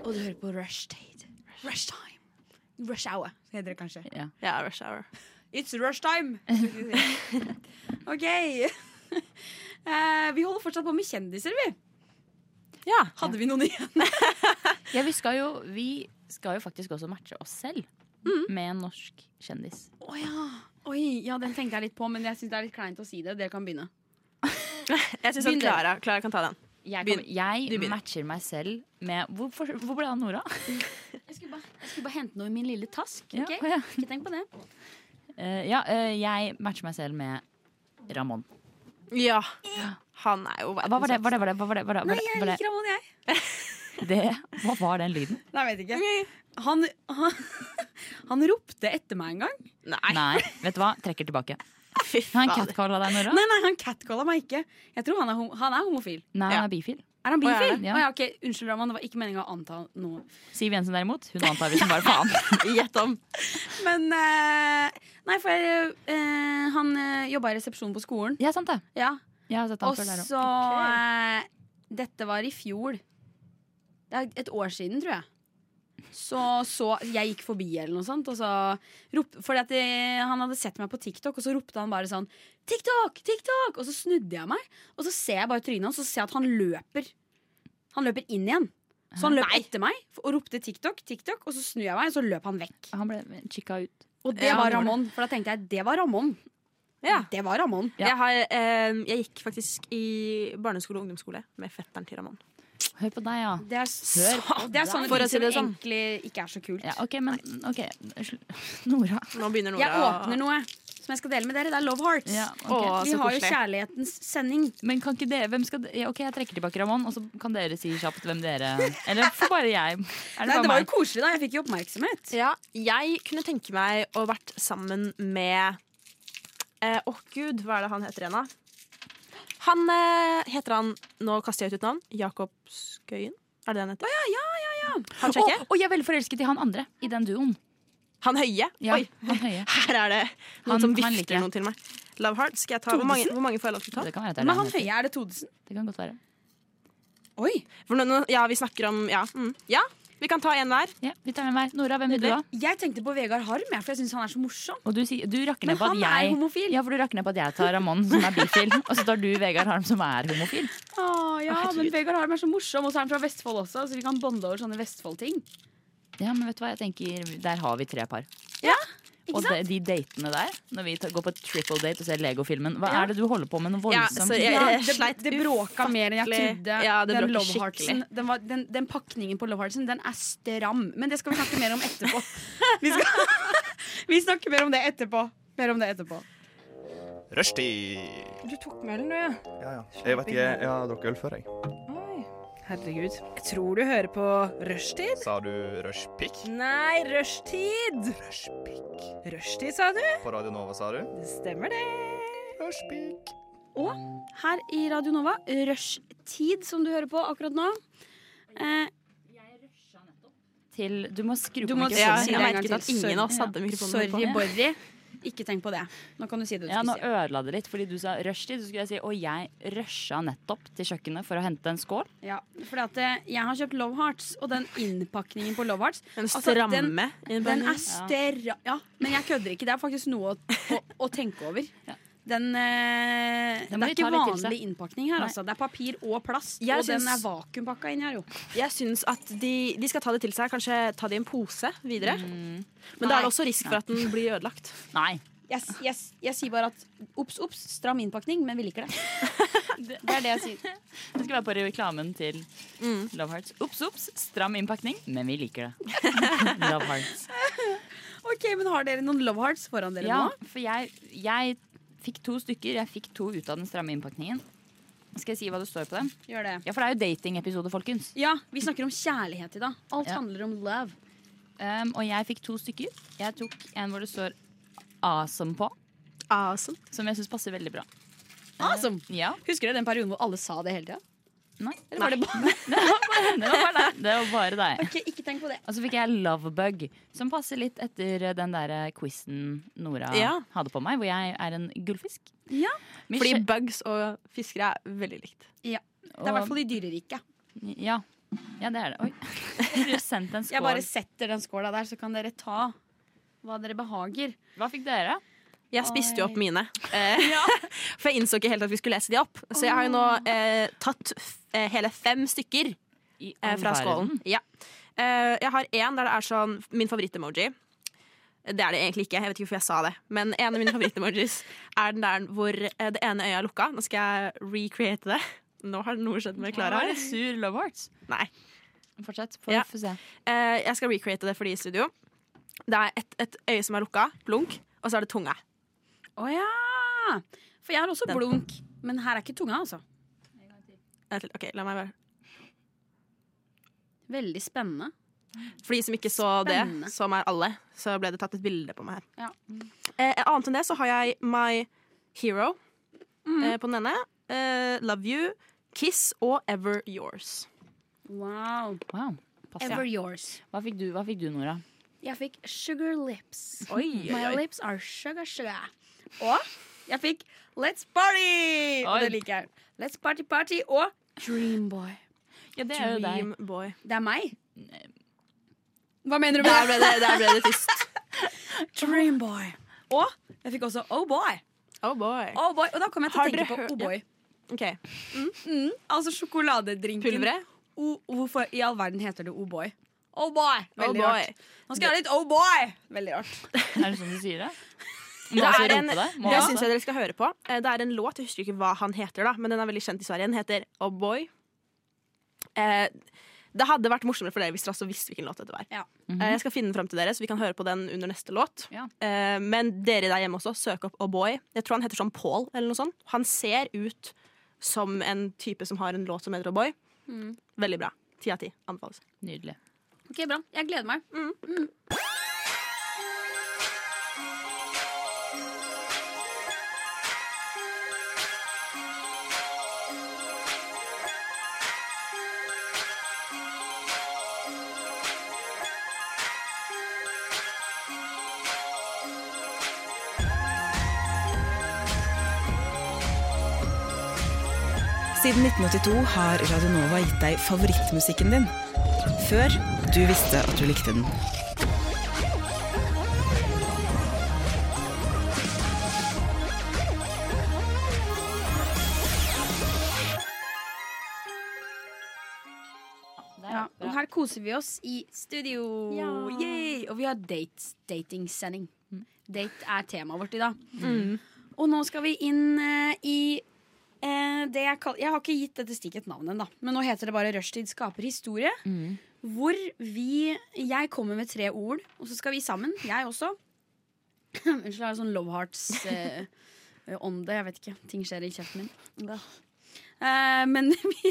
Og du hører på Rushtid. Rush time. Rush hour, heter det kanskje.
Ja, Rush Hour.
It's rush time! (laughs) OK. (laughs) Eh, vi holder fortsatt på med kjendiser, vi.
Ja.
Hadde vi noen igjen? (laughs)
Ja, vi, skal jo, vi skal jo faktisk også matche oss selv med en norsk kjendis.
Å ja. Oi, ja, den tenkte jeg litt på, men jeg syns det er litt kleint å si det. Dere kan begynne.
Jeg syns at
Begynn dere.
Klara Klara kan ta den.
Jeg,
Begynn.
kommer- jeg
Du begynner.
matcher meg selv med Hvor, for, hvor ble det av Nora?
Jeg skulle bare, jeg skulle bare hente noe i min lille task.
(laughs) Ja,
ok?
å ja.
Ikke tenk på det.
Eh, ja, eh, jeg matcher meg selv med Ramón.
Ja. Han er jo
Hva var det? Var det, var det, hva var det, var det, var
Nei,
det,
jeg
var det,
liker Ramón, jeg.
det Hva var den lyden?
Nei, jeg vet ikke. Han, han, (laughs) han ropte etter meg en gang.
Nei,
Nei, vet du hva? Trekker tilbake.
fy
Har han
fader.
catcalla deg, Nora?
Nei, nei, han catcalla meg ikke. Jeg tror han er, hom- han er homofil.
Nei, han
Ja.
er bifil.
Er
Å,
han
er
bifil?
det?
Å,
Ja.
ja. ok, Unnskyld, Ramón. Det var ikke meninga å anta noe.
Siv Jensen derimot, hun antar vi
(laughs)
som bare faen.
Gjett om.
Men eh, Nei, for eh, han uh, jobba i resepsjonen på skolen.
Ja, sant det.
Ja.
Jeg har sett han
Og
før der òg.
så eh, Dette var i fjor. Det er et år siden, tror jeg. Så, så jeg gikk forbi eller noe sånt, og så rop, fordi at det, han hadde sett meg på TikTok, og så ropte han bare sånn TikTok! TikTok! Og så snudde jeg meg, og så ser jeg bare trynet hans, og så ser jeg at han løper. Han løper inn igjen. Så han løp etter meg f- og ropte TikTok, TikTok, og så snur jeg meg, og så løp han vekk. Eh,
Han ble chicka ut.
Og det
Ja, han
var
gjorde
Ramón, for da tenkte jeg det var Ramón.
Ja.
Det var Ramón.
Ja.
Jeg, har, eh, jeg gikk faktisk i barneskole og ungdomsskole med fetteren til Ramón.
Hør på deg, ja.
Det er, så, (laughs) det er sånne
For å
ting
si
som
det sånn.
egentlig ikke er så kult.
ja OK, men OK. (laughs) Nora.
Nå begynner Nora
Jeg åpner noe som jeg skal dele med dere. Det er Love Hearts.
Ja, ok.
Å,
Vi
så
har jo
koselig.
kjærlighetens sending.
Men kan ikke dere hvem skal, ja, OK, jeg trekker tilbake Ramón, og så kan dere si kjapt hvem dere Eller får bare jeg? Er det
Nei,
bare
det var jo
meg?
koselig, da. Jeg fikk jo oppmerksomhet.
Ja, jeg kunne tenke meg å vært sammen med eh, Åh, gud, hva er det han heter igjen, da? Han eh, heter han Nå kaster jeg ut et navn. Jakob Skøyen? Er det det han heter? ja, ja, ja, Han
Å,
sjekker?
å, jeg er veldig forelsket i han andre i den duoen.
Han høye?
Ja,
Oi,
han høye.
her er det noen
Han-
som
han liker
vifter
jeg.
noen til meg. Love Heart, skal jeg ta hvor mange, hvor mange får jeg lov til å ta?
Det kan være at det er
Men
det han
han
heter.
høye, er det Todesen?
Det kan godt være.
Oi!
For nå, nå- ja, vi snakker om Ja, mm, ja vi kan ta en hver.
Ja, vi tar med meg. Nora, hvem vil du ha?
Jeg tenkte på Vegard Harm, jeg, for jeg syns han er så morsom.
Og du, sier- du rakker
Men
ned på at
han er
jeg
homofil.
Ja, for du rakker ned på at jeg tar Ramón, som er bifil, (laughs) og så tar du Vegard Harm, som er homofil.
Å, ja, men Vegard Harm er så morsom, og så er han fra Vestfold også, så vi kan bonde over sånne Vestfold-ting.
Ja, men vet du hva, jeg tenker Der har vi tre par.
Ja,
Og
ikke sant?
de, de datene der, når vi ta- går på triple date og ser Lego-filmen, hva
Ja.
er det du holder på med? Noe
Ja,
voldsomt?
så jeg-
Ja,
jeg
det,
sleit
det bråka mer enn jeg
ufattelig.
trodde.
Ja, det
den
bråker
Love Heartsen,
skikkelig.
den, var, den, den pakningen på Love Heartsen, den er stram. Men det skal vi snakke mer om etterpå. Vi, skal, (laughs) vi snakker mer om det etterpå. Mer om det etterpå.
Rushtid.
Du tok med ølen, du, ja.
Jeg vet ikke, jeg har drukket øl før, jeg.
Oi. Herregud. Jeg tror du hører på rushtid.
Sa du rushpick?
Nei, rushtid!
Rushpick.
Rushtid, sa du?
På Radio Nova, sa du?
Det stemmer, det.
Rushpick.
Her i Radio Nova, rushtid, som du hører på akkurat nå. Eh,
Til, du må skru
Du
på
må
Ja,
mikrofonen.
jeg
si det en gang
merket at
til.
ingen av oss
Sorry.
hadde mikrofonen på.
sorry, Borry. Ikke tenk på det. Nå kan du si det du
Ja, nå
skulle si.
ødela det litt, fordi du sa rushtid. Så skulle jeg si og jeg rusha nettopp til kjøkkenet for å hente en skål.
Ja, fordi at eh, jeg har kjøpt Love Hearts, og den innpakningen på Love Hearts
En
altså,
stramme
den-
i en
Den
blanding.
er større Ja, men jeg kødder ikke. Det er faktisk noe å, å, å tenke over. Den, eh,
Den
det
må
er
de ta
ikke
litt til
vanlig
seg.
innpakning her,
Nei.
altså. Det er papir og plast,
Jeg
og den
syns-
er vakuumpakka inn her, jo.
Jeg syns at de, de skal ta det til seg, kanskje ta det i en pose videre. Men da er det også risk for at den blir ødelagt.
Nei.
Jeg, s- jeg, s- jeg sier bare at obs, obs, stram innpakning, men vi liker det. Det er det jeg sier.
Det skal være på reklamen til
Mm.
Love Hearts. Ops, ops, stram innpakning, men vi liker det.
(laughs)
Love Hearts.
Ok, men Har dere noen love hearts foran dere
Ja,
nå?
for jeg, jeg fikk to stykker. Jeg fikk to ut av den stramme innpakningen. Skal jeg si hva det står på dem?
Gjør det.
Ja, for det er jo datingepisode, folkens.
Ja, vi snakker om kjærlighet i dag. Alt
Ja.
handler om love.
Um, og jeg fikk to stykker. Jeg tok en hvor det står awesome på.
Awesome.
Som jeg syns passer veldig bra.
Awesome!
Ja.
Husker dere den perioden hvor alle sa det hele tida?
Nei.
Eller var det bare
(laughs) Det var bare deg. Det var bare deg.
Ok, Ikke tenk på det.
Og så fikk jeg lovebug, som passer litt etter eh, den der quizen Nora
Ja.
hadde på meg, hvor jeg er en gullfisk.
Ja.
Min
Fordi
kjæ-
bugs og fiskere er veldig likt.
Det er i hvert fall de dyrerike.
Ja. ja, det er det. Oi. (laughs) Jeg blir sendt en
Jeg bare
skål.
setter den skåla der, så kan dere ta hva dere behager.
Hva fikk dere?
Jeg spiste jo opp mine. (laughs) Eh, For jeg innså ikke helt at vi skulle lese de opp. Så jeg har jo nå eh, tatt f- eh, hele fem stykker
I
eh,
all
fra skålen.
verden.
Ja. Eh, jeg har én der det er sånn min favorittemoji. Det er det egentlig ikke, jeg vet ikke hvorfor jeg sa det. Men en av mine (laughs) favorittemojis er den der hvor eh, det ene øyet er lukka. Nå skal jeg recreate det. Nå har noe skjedd med Klara.
Nå er det Sur Love Hearts.
Nei.
Fortsett.
Ja.
Få få se.
Eh, jeg skal recreate det for de i studio. Det er et, et øye som er lukka, blunk, og så er det tunga.
Å ja! For jeg har også
Den.
blunk, men her er ikke tunga, altså.
Vent litt, Ok, la meg bare
Veldig spennende.
For de som ikke så
Spennende.
det, som er alle, så ble det tatt et bilde på meg her.
Ja.
Eh, annet enn det så har jeg My Hero
Mhm.
eh, på den ene. Eh, Love You, Kiss og Ever Yours.
Wow.
Wow. Passer.
Ever yours.
Hva fikk du, hva fikk du Nora?
Jeg fikk sugar lips.
Oi, oi,
My
oi.
lips are sugar, sugar. Og jeg fikk Let's Party! Og
Oi.
det liker jeg. Let's Party Party og Dream Boy.
Ja, det er jo deg.
Dream Boy.
Det er meg. Hva mener du
Der
med
ble det, der ble det tyst.
Dream Boy? Og jeg fikk også Oh Boy.
(laughs) Oh boy.
Oh boy. Og da kom jeg til
Har
å tenke
dere
på
hørt-
Oh Boy.
Ok,
Mm, altså sjokoladedrinken.
Pulveret?
O hvorfor i all verden heter det Oh Boy? Oh Boy.
Oh
Veldig
boy.
rart. Nå skal jeg ha litt Oh Boy. Veldig rart.
Er det sånn du sier det? (laughs) Må
Det
også
er en,
rope deg? Må altså-
det
også?
syns jeg dere skal høre på. Eh, Det er en låt, jeg husker ikke hva han heter, da men den er veldig kjent i Sverige. Den heter Oh Boy. Eh, Det hadde vært morsommere for dere hvis dere også visste hvilken låt dette var.
Ja.
Eh, Jeg skal finne den fram til dere, så vi kan høre på den under neste låt.
Mhm. Ja.
Eh, Men dere der hjemme også, søk opp Oh Boy. Jeg tror han heter sånn Paul eller noe sånt. Han ser ut som en type som har en låt som heter Oh Boy.
Mm.
Veldig bra. Ti av ti. Anbefales.
Nydelig.
Ok, bra. Jeg gleder meg.
Siden 1982 har Radio Nova gitt deg favorittmusikken din. Før du visste at du likte den.
Ja, og her koser vi oss i studio. Yay! Og vi har dates, datingsending. Date er temaet vårt i dag. Og nå skal vi inn eh, i eh, det jeg kaller Jeg har ikke gitt dette stikket et navn ennå, men nå heter det bare Rushtid skaper historie. Hvor vi Jeg kommer med tre ord, og så skal vi sammen, jeg også Unnskyld, jeg har sånn love hearts-ånde. jeg vet ikke. Ting skjer i kjeften min. Eh, men (laughs) vi,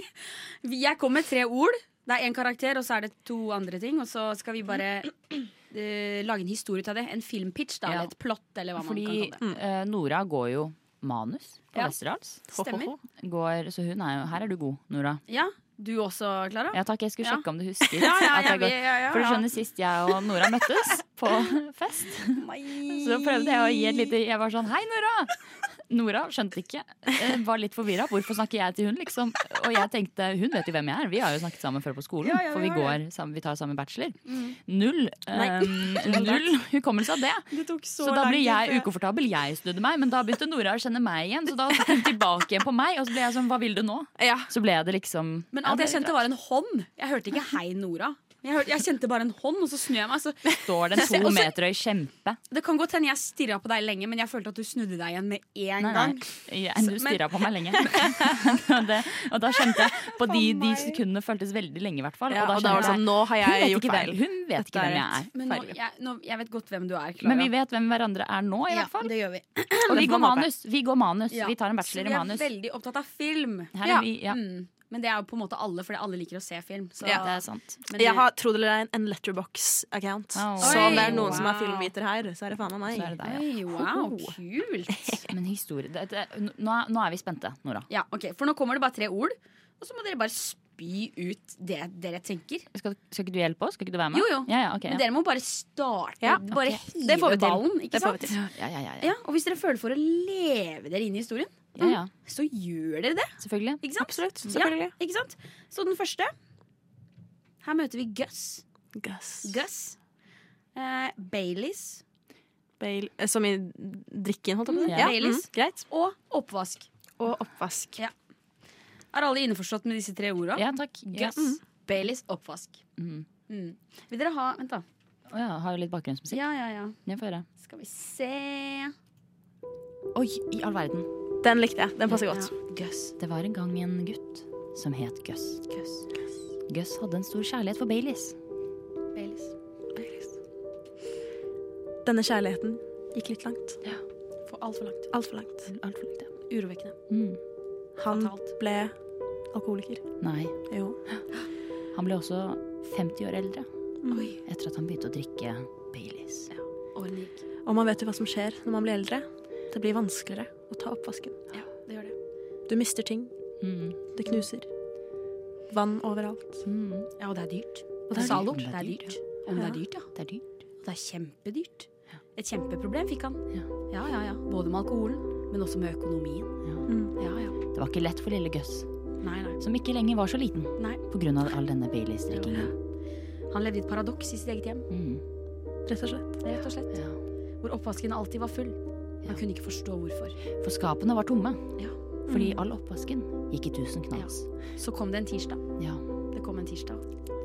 vi, jeg kom med tre ord. Det er én karakter, og så er det to andre ting. Og så skal vi bare eh, lage en historie ut av det. En filmpitch, da.
Ja.
Eller et plott, eller hva
Fordi
man kan kalle det.
eh, Nora går jo manus på
Ja.
Westerdals.
Stemmer.
Går, så hun er jo Her er du god, Nora.
Ja, du også, Klara?
Ja takk, jeg skulle
Ja.
sjekke om du (laughs) husker.
Ja, ja,
at
ja,
jeg går-
ja, ja,
For du
ja.
skjønner, sist jeg og Nora (laughs) møttes på fest, så prøvde jeg å gi et lite Jeg var sånn Hei, Nora! Nora skjønte ikke. eh, Var litt forvirra. Hvorfor snakker jeg til hun, liksom? Og jeg tenkte, hun vet jo hvem jeg er. Vi har jo snakket sammen før på skolen.
Ja, ja,
for
vi
vi,
har
går,
det.
sammen, vi tar samme bachelor.
Mm.
Null,
Nei.
eh, null
(laughs)
hukommelse av det.
Det tok så
da
lang
ble
tid før
jeg
jeg-
ukomfortabel. Jeg snudde meg, men da begynte Nora å kjenne meg igjen. Så da tok hun tilbake igjen på meg, og så ble jeg sånn, hva vil du nå? Så ble det liksom
Men alt jeg kjente, var en hånd. Jeg hørte ikke 'hei, Nora'. Jeg, hørte, jeg kjente bare en hånd, og så snur jeg meg. Så
(laughs)
Står det
Så jeg-
en
og
to
så-
meter høy kjempe?
Det kan godt hende jeg stirra på deg lenge, men jeg følte at du snudde deg igjen med en
Nei,
gang.
nei. Jeg, du
Så- men-
stirra på meg lenge. (laughs) og, det, og da skjønte jeg På de, de sekundene føltes veldig lenge, i hvert fall.
Ja, og da var det
skjønte
sånn, nå har
hun vet
jeg gjort
ikke hvem-
feil.
Hun vet ikke hvem jeg er.
Men nå, jeg, nå, jeg vet godt hvem du er, Klara.
Men vi vet hvem hverandre er nå, i
Ja,
hvert fall.
det gjør vi.
Og vi
Det får
går
man håpe.
manus. Vi går manus.
Ja.
Vi tar en
Så
bachelor i
vi er
manus.
veldig opptatt av film.
Her er vi, ja.
Mm. Men det er jo på en måte alle, fordi alle liker å se film. Så.
Ja. Det er
sant.
Men
Jeg
du-
har trodd eller ei en Letterbox-account. Så om det er noen som er filmviter her, så er det faen av meg.
Så er det deg, ja.
wow,
(laughs) kult! Men historie det, det, nå, er- nå er vi spente, Nora.
Ja, ok, For nå kommer det bare tre ord, og så må dere bare spy ut det dere tenker.
Skal, skal ikke du hjelpe oss? Skal ikke du være med?
Jo, jo.
Ja, ja, ok, ja.
Men dere må bare starte.
Ja,
Bare
ok.
hive
Det får vi til.
ballen. Ikke
Det får
sant?
vi til. Ja, ja, ja, ja.
og hvis dere føler for å leve dere inn i historien, mm,
Ja, ja.
så gjør dere det.
Selvfølgelig.
Ikke sant?
Absolutt.
Ja,
Selvfølgelig.
ikke sant? Så den første Her møter vi Gus.
Gus.
Eh, Baileys.
Bail, eh, som i drikken, holdt jeg på å si?
Ja. Baileys.
Mm, greit.
Og oppvask.
Og oppvask.
Ja. Er alle innforstått med disse tre ordene?
Ja, takk.
Gus,
Ja. Mm.
Baileys, oppvask.
Mm.
Mm. Vil dere ha Vent, da.
Å ja, har jo litt bakgrunnsmusikk.
Ja, ja, ja.
Jeg får høre.
Skal vi se
Oi, i all verden.
Den likte jeg. Den passer godt.
Det var en gang en gutt som het Gus. Gus, hadde en stor kjærlighet for Baileys.
Baileys.
Denne kjærligheten gikk litt langt.
For altfor langt.
Altfor langt. Urovekkende.
Mm.
Han ble alkoholiker.
Nei.
Jo.
Han ble også 50 år eldre
Mm.
Oi.
etter at han begynte å drikke Baileys.
Årene gikk.
Og man vet jo hva som skjer når man blir eldre. Det blir vanskeligere å ta oppvasken.
Det gjør det.
Du mister ting.
Mm.
Det knuser. Vann overalt.
Ja, og det er dyrt.
Og
det
det
er
er
Salo.
dyrt.
Det er dyrt. Om det er dyrt, ja.
Det er dyrt.
Det er kjempedyrt. Et kjempeproblem fikk han. Ja, ja, ja. Både med alkoholen, men også med økonomien. Mm. Ja, ja.
Det var ikke lett for lille Gus,
Nei, nei.
som ikke lenger var så liten
Nei.
pga. all denne Baileys-drikkingen. Mm.
Han levde i et paradoks i sitt eget hjem.
Rett og slett.
Rett og slett. Hvor oppvasken alltid var full. Han kunne ikke forstå hvorfor.
For skapene var tomme fordi
Mm.
all oppvasken gikk i tusen knas.
Så kom det en tirsdag.
Ja.
Det kom en tirsdag.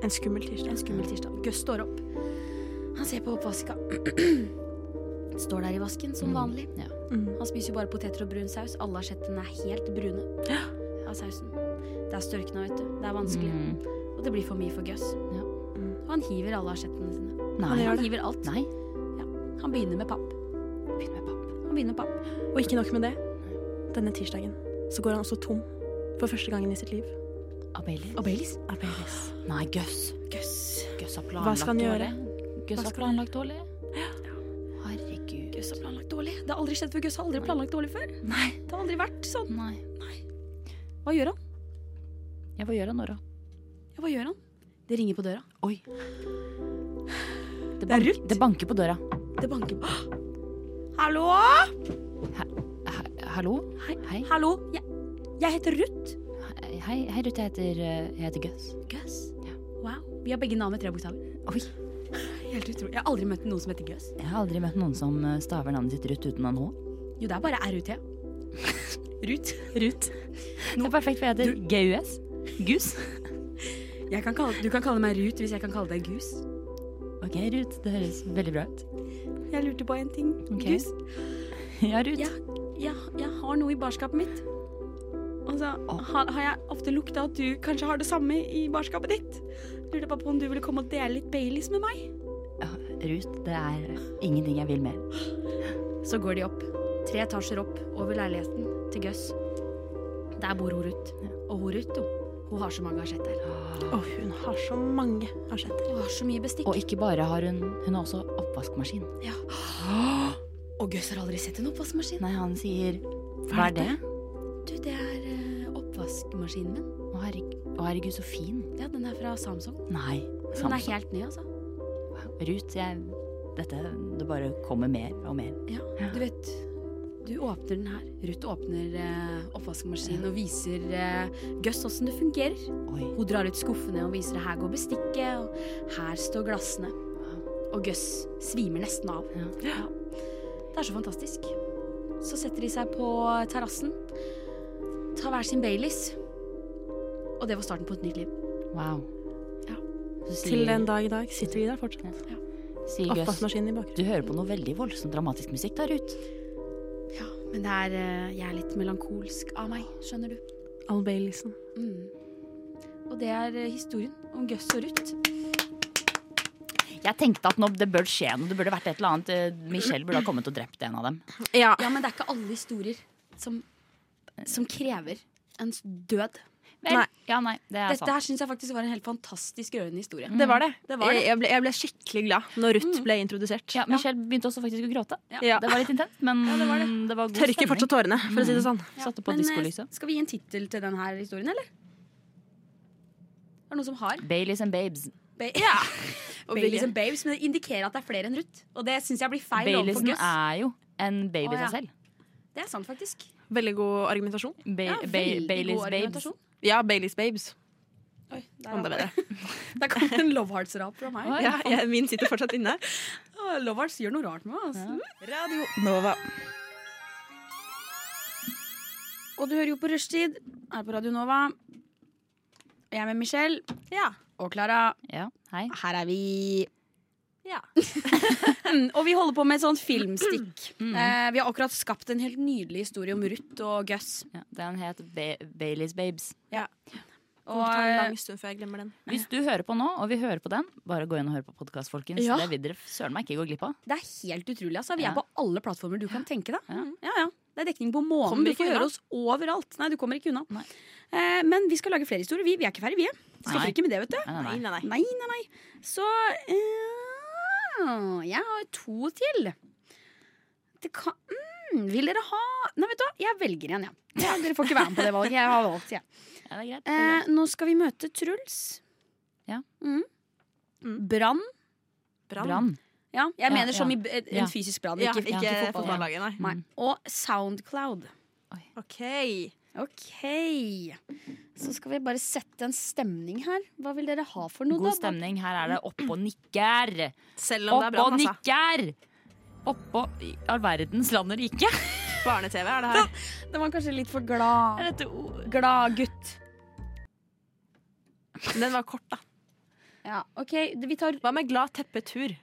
En skummel tirsdag.
En skummel tirsdag. Gus står opp. Han ser på oppvaska. (clears throat) Står der i vasken
Mm.
som vanlig.
Mm.
Han spiser jo bare poteter og brun saus. Alle har sett den er helt brune av sausen. Det er størkna, vet du. Det er vanskelig.
Mm.
Og det blir for mye for Gus. Mm. Og han hiver alle asjettene sine.
Nei.
Han,
Gjør det.
hiver alt.
Nei.
Ja. Han begynner med papp. Han begynner med papp.
Og ikke nok med det. Denne tirsdagen så går han også tom for første gangen i sitt liv.
Abelis.
Abelis?
Nei, Gus.
Gus.
Gus har planlagt
Hva skal han gjøre?
dårlig.
Hva
Gus har
skal han-
planlagt dårlig. Herregud.
Gus har planlagt dårlig. Det har aldri skjedd før. Gus har aldri planlagt dårlig før.
Nei.
Det har aldri vært sånn.
Nei.
Hva gjør han?
Ja, hva gjør han nå, da?
Ja, hva gjør han? Det ringer på døra.
Oi. Det, bank, det banker på døra.
Det banker på. Hallo?
Hallo?
Hei.
Hei,
Hallo? Jeg, jeg heter Ruth.
hei, hei Ruth. Jeg heter, eh, jeg heter Gus.
Gus? Wow. Vi har begge navn med tre bokstaver.
Oi.
Helt utrolig. Jeg har aldri møtt noen som heter Gus.
Jeg har aldri møtt noen som eh, staver navnet sitt Ruth uten en H.
Jo, det er bare RUT. (laughs) Ruth.
Ruth. Det er perfekt, for jeg heter GUS. Gus.
Jeg kan kalle, du kan kalle meg Ruth hvis jeg kan kalle deg Gus.
Ok, Ruth. Det høres veldig bra ut.
Jeg lurte på en ting.
Ok.
Gus,
(laughs) Ja, Ruth.
jeg, jeg har noe i barskapet mitt. Og så har, har jeg ofte lukta at du kanskje har det samme i barskapet ditt. Lurte bare på om du ville komme og dele litt Baileys med meg.
Ruth, det er ingenting jeg vil mer.
Så går de opp. Tre etasjer opp over leiligheten til Gus. Der bor hun Ruth. Og hun Ruth, hun, hun har så mange asjetter.
Ah.
Og hun har så mange asjetter.
Hun har så mye bestikk.
Og ikke bare har hun Hun har også oppvaskmaskin.
Ja. Og Gus har aldri sett en oppvaskmaskin.
Nei, han sier Hva er det?
Du, det er eh, oppvaskmaskinen min.
Å, herregud, å, herregud så fin.
Ja, den er fra Samsung.
Nei.
Den er
Samsung.
helt ny, altså.
Ruth, jeg Dette Det bare kommer mer og mer.
Ja, du vet Du åpner den her. Ruth åpner eh, oppvaskmaskinen og viser eh, Gus åssen det fungerer. Hun drar ut skuffene og viser her går bestikket, og her står glassene. Og Gus svimer nesten av. Ja. Det er så fantastisk. Så setter de seg på terrassen, tar hver sin Baileys, og det var starten på et nytt liv.
Wow.
Til den dag i dag sitter vi der fortsatt.
Sier Gus.
Oppvaskmaskinen i bakgrunnen.
Du hører på noe veldig voldsomt dramatisk musikk der ute.
Men det er, eh, jeg er litt melankolsk av meg, skjønner du.
Al Baileysen.
Mm. Og det er eh, historien om Gus og Ruth.
Jeg tenkte at nå, det bør skje noe. Det burde vært et eller annet. eh, Michelle burde ha kommet og drept en av dem.
Ja.
men det er ikke alle historier som, som krever en s- død.
Vel, Nei. ja, nei, det er
Dette
sant.
her syns jeg faktisk var en helt fantastisk rørende historie.
Det var det.
det, var det.
Jeg, ble, jeg ble skikkelig glad når Ruth ble introdusert. Ja,
Michelle begynte også faktisk å gråte.
Ja.
Det var litt intenst, men det var, god
Tørker
stemning.
fortsatt tårene, for å si det sånn.
Mm. Satte på
Men, eh,
diskolyset.
Skal vi gi en tittel til denne historien, eller? Er det noen som har?
Baileys and Babes.
Ba (laughs) ja.
Og
Baileys
Baileys.
and Babes, men det indikerer at det er flere enn Ruth. Og det syns jeg blir feil overfor
Baileysen
Gus.
er jo en baby i
Å, ja.
seg selv.
Det er sant, faktisk.
Veldig god argumentasjon.
Ja, ba- veldig Baileys god Babes. argumentasjon.
Ja, Baileys Babes.
Oi, der
Om det
var
var
det. Der kom det en Love Hearts-rap fra meg.
Ja, jeg, min sitter fortsatt inne.
Å, Love Hearts gjør Ah, noe rart med meg. Altså.
Radio Nova.
Og du hører jo på Rushtid her på Radio Nova. Og Jeg er med Michelle. Og Klara. Her er vi.
Ja.
(clears throat) og vi holder på med et sånt (clears throat) filmstikk. Eh, vi har akkurat skapt en helt nydelig historie om Ruth og Gus.
Den het ba Baileys Babes.
Ja.
Og, det
eh,
tar en lang stund før jeg glemmer den.
Hvis du hører på nå, og vi hører på den, bare gå inn og hør på podkast, folkens.
Ja.
Det vil dere søren meg ikke gå glipp av.
Det er helt utrolig. Altså. Vi
Ja.
er på alle plattformer du kan tenke deg. Ja, ja. Det er dekning på månen.
Kommer
Du
ikke
får
unna.
høre oss overalt. Nei, du kommer ikke unna. Eh, men vi skal lage flere historier. Vi, vi er ikke ferdig, vi. Stopper
Nei.
ikke med det, vet du.
Nei, nei, nei.
nei, nei, nei. Så eh, Jeg har to til. Det kan mm, Vil dere ha Nei, vet du hva, jeg velger igjen, jeg. Ja. dere får ikke være med på det valget. Jeg har valgt, jeg.
(laughs) Ja, det er greit.
Eh, nå skal vi møte Truls.
Ja.
Mm. Brann.
Brann.
Ja, jeg
Ja,
mener som i
ja.
b- en
Ja.
fysisk brann,
Ja,
ikke,
ja,
ikke
ikke
fotballaget.
fotballaget,
Nei. Og Soundcloud.
OK.
Så skal vi bare sette en stemning her. Hva vil dere ha for noe,
God
da?
stemning. Her er det opp og nikker.
Selv
om det
Opp og
er brann, altså.
altså.
nikker! Oppå i all verdens land og rike.
Barne-TV er det her.
Den var kanskje litt for glad. Glad gutt.
Den var kort, da.
Ja, ok, vi tar
Hva med glad teppetur?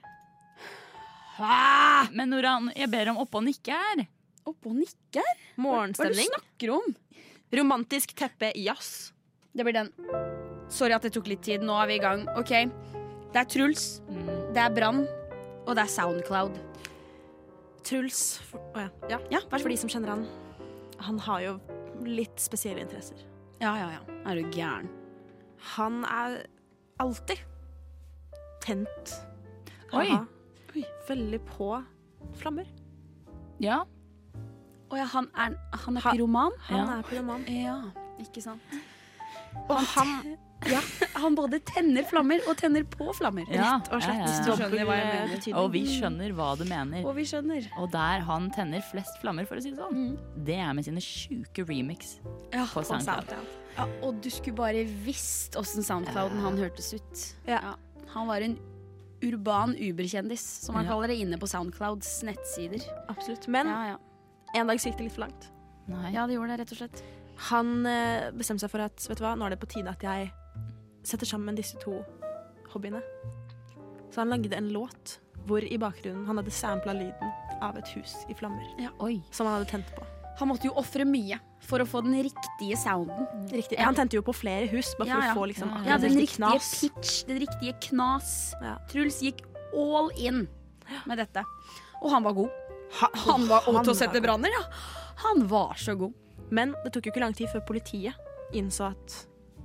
Men Noran, jeg ber om opp og nikker.
Opp og nikker?
Morgenstemning.
Hva er det du snakker om?
Romantisk teppe jazz.
Det blir den. Sorry at det tok litt tid. Nå er vi i gang. Ok, Det er Truls, det er Brann, og det er Soundcloud.
Truls for, å ja. Ja,
vær så
for de som kjenner han. Han har jo litt spesielle interesser.
Ja, ja, ja. Er du gæren?
Han er alltid tent.
Oi.
Aha. Oi. Veldig på flammer.
Ja.
Å ja, han er, han er pyroman?
Han er pyroman.
Ja, ikke sant. Og han ja, Han både tenner flammer og tenner på flammer. Rett og slett. Hvis du skjønner hva jeg mener.
Og vi skjønner hva du mener.
Og vi skjønner.
Og der han tenner flest flammer, for å si det sånn, det er med sine sjuke remix
Mm. Ja,
på SoundCloud.
Ja, og du skulle bare visst åssen Soundclouden han hørtes ut. Ja. Han var en urban uberkjendis, som han
Ja.
kaller det inne på Soundclouds nettsider.
Absolutt. Men
Ja, ja.
en dag så gikk det litt for langt.
Ja, det gjorde det, rett og slett.
Han eh, bestemte seg for at vet du hva, nå er det på tide at jeg setter sammen disse to hobbyene. Så han lagde en låt hvor i bakgrunnen han hadde sampla lyden av et hus i flammer. Som han hadde tent på.
Han måtte jo ofre mye for å få den riktige sounden.
Riktig. Han tente jo på flere hus, bare for å få liksom
ja,
akkurat
den
riktig
riktige
knas.
pitch, den riktige knas. Truls gikk all in med dette. Og han var god. han var
han
god til
var
å sette
god.
branner, ja. Han var så god.
Men det tok jo ikke lang tid før politiet innså at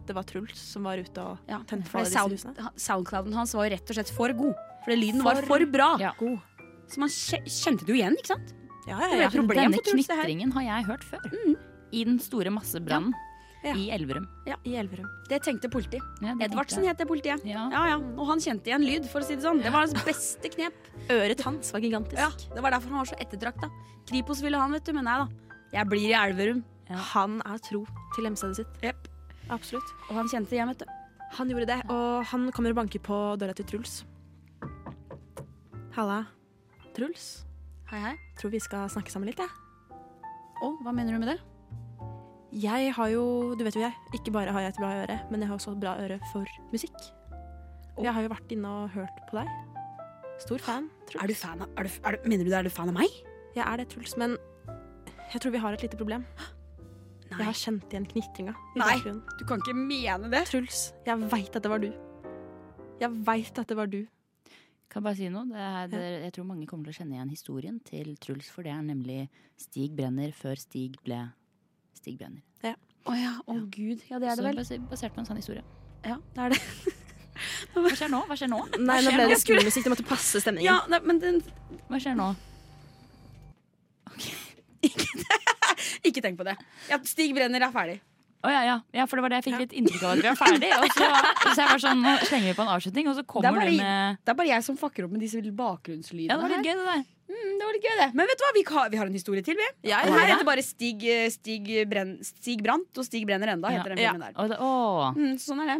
det var Truls som var ute og tente på
For
alle
det
disse
sound,
husene.
ha- soundclouden hans var jo rett og slett for god. Fordi lyden var
For-
for bra.
Ja.
Så man kje- kjente det jo igjen, ikke sant?
Ja,
Det ble et problem
Denne
for Truls, det her. Mm.
knitringen har jeg hørt før. I den store massebrannen. I Elverum.
Ja, i Elverum. Det tenkte politiet.
tenkte
Edvardsen
jeg.
het det politiet. Ja. ja, Og han kjente igjen lyd, for å si det sånn. Det var hans beste knep. Øret hans var gigantisk. Ja, Det var derfor han var så ettertrakta. Kripos ville han, vet du, men nei da. Jeg blir i Elverum.
Han er tro til hjemstedet sitt. Absolutt.
Og han kjente hjem, vet du.
Han gjorde det, og han kommer og banker på døra til Truls. Halla. Truls?
Hei, hei.
Tror vi skal snakke sammen litt, jeg.
Å, hva mener du med det?
Jeg har jo, du vet jo jeg, ikke bare har jeg et bra øre, men jeg har også et bra øre for musikk. Og jeg har jo vært inne og hørt på deg. Stor fan, Truls.
Er du fan av, er du, er du, mener du det, er du fan av meg?
Jeg er det, Truls, men jeg tror vi har et lite problem. Jeg har kjent igjen knitringa. i
Nei,
bakgrunnen.
du kan ikke mene det.
Truls, jeg veit at det var du. Jeg veit at det var du.
Kan jeg bare si noe? Det er, det, jeg tror mange kommer til å kjenne igjen historien til Truls, for det er nemlig Stig Brenner før Stig ble Stig Brenner.
Ja.
Å ja, å gud. Ja, det er
Så
det vel.
basi- basert på en sann historie.
Ja, det er det.
(laughs) Hva skjer nå? Hva skjer nå?
Nei, nå
Hva
ble
skjer
det
Jeg skulle-
skolemusikk. Det måtte passe stemningen.
Ja, nei, men den...
Hva skjer nå?
Ikke tenk på det. Ja, Stig Brenner er ferdig.
Å ja, ja. ja, for det var det jeg fikk litt inntrykk av at vi var ferdig. Og så, så jeg var sånn, nå slenger vi på en avslutning, og så
Det er,
kommer
bare,
du med
det er bare jeg som fucker opp med disse bakgrunnslydene.
Ja, det var litt
her.
gøy, det der.
Mm, det var litt gøy, det. Men vet du hva, vi har, vi har en historie til, vi.
Ja,
og
ja,
her
ja.
heter bare Stig, eh, Stig, Brenn, Stig Brandt og Stig Brenner enda, heter den
Ja.
filmen der.
Og det, å.
Mm, sånn er det.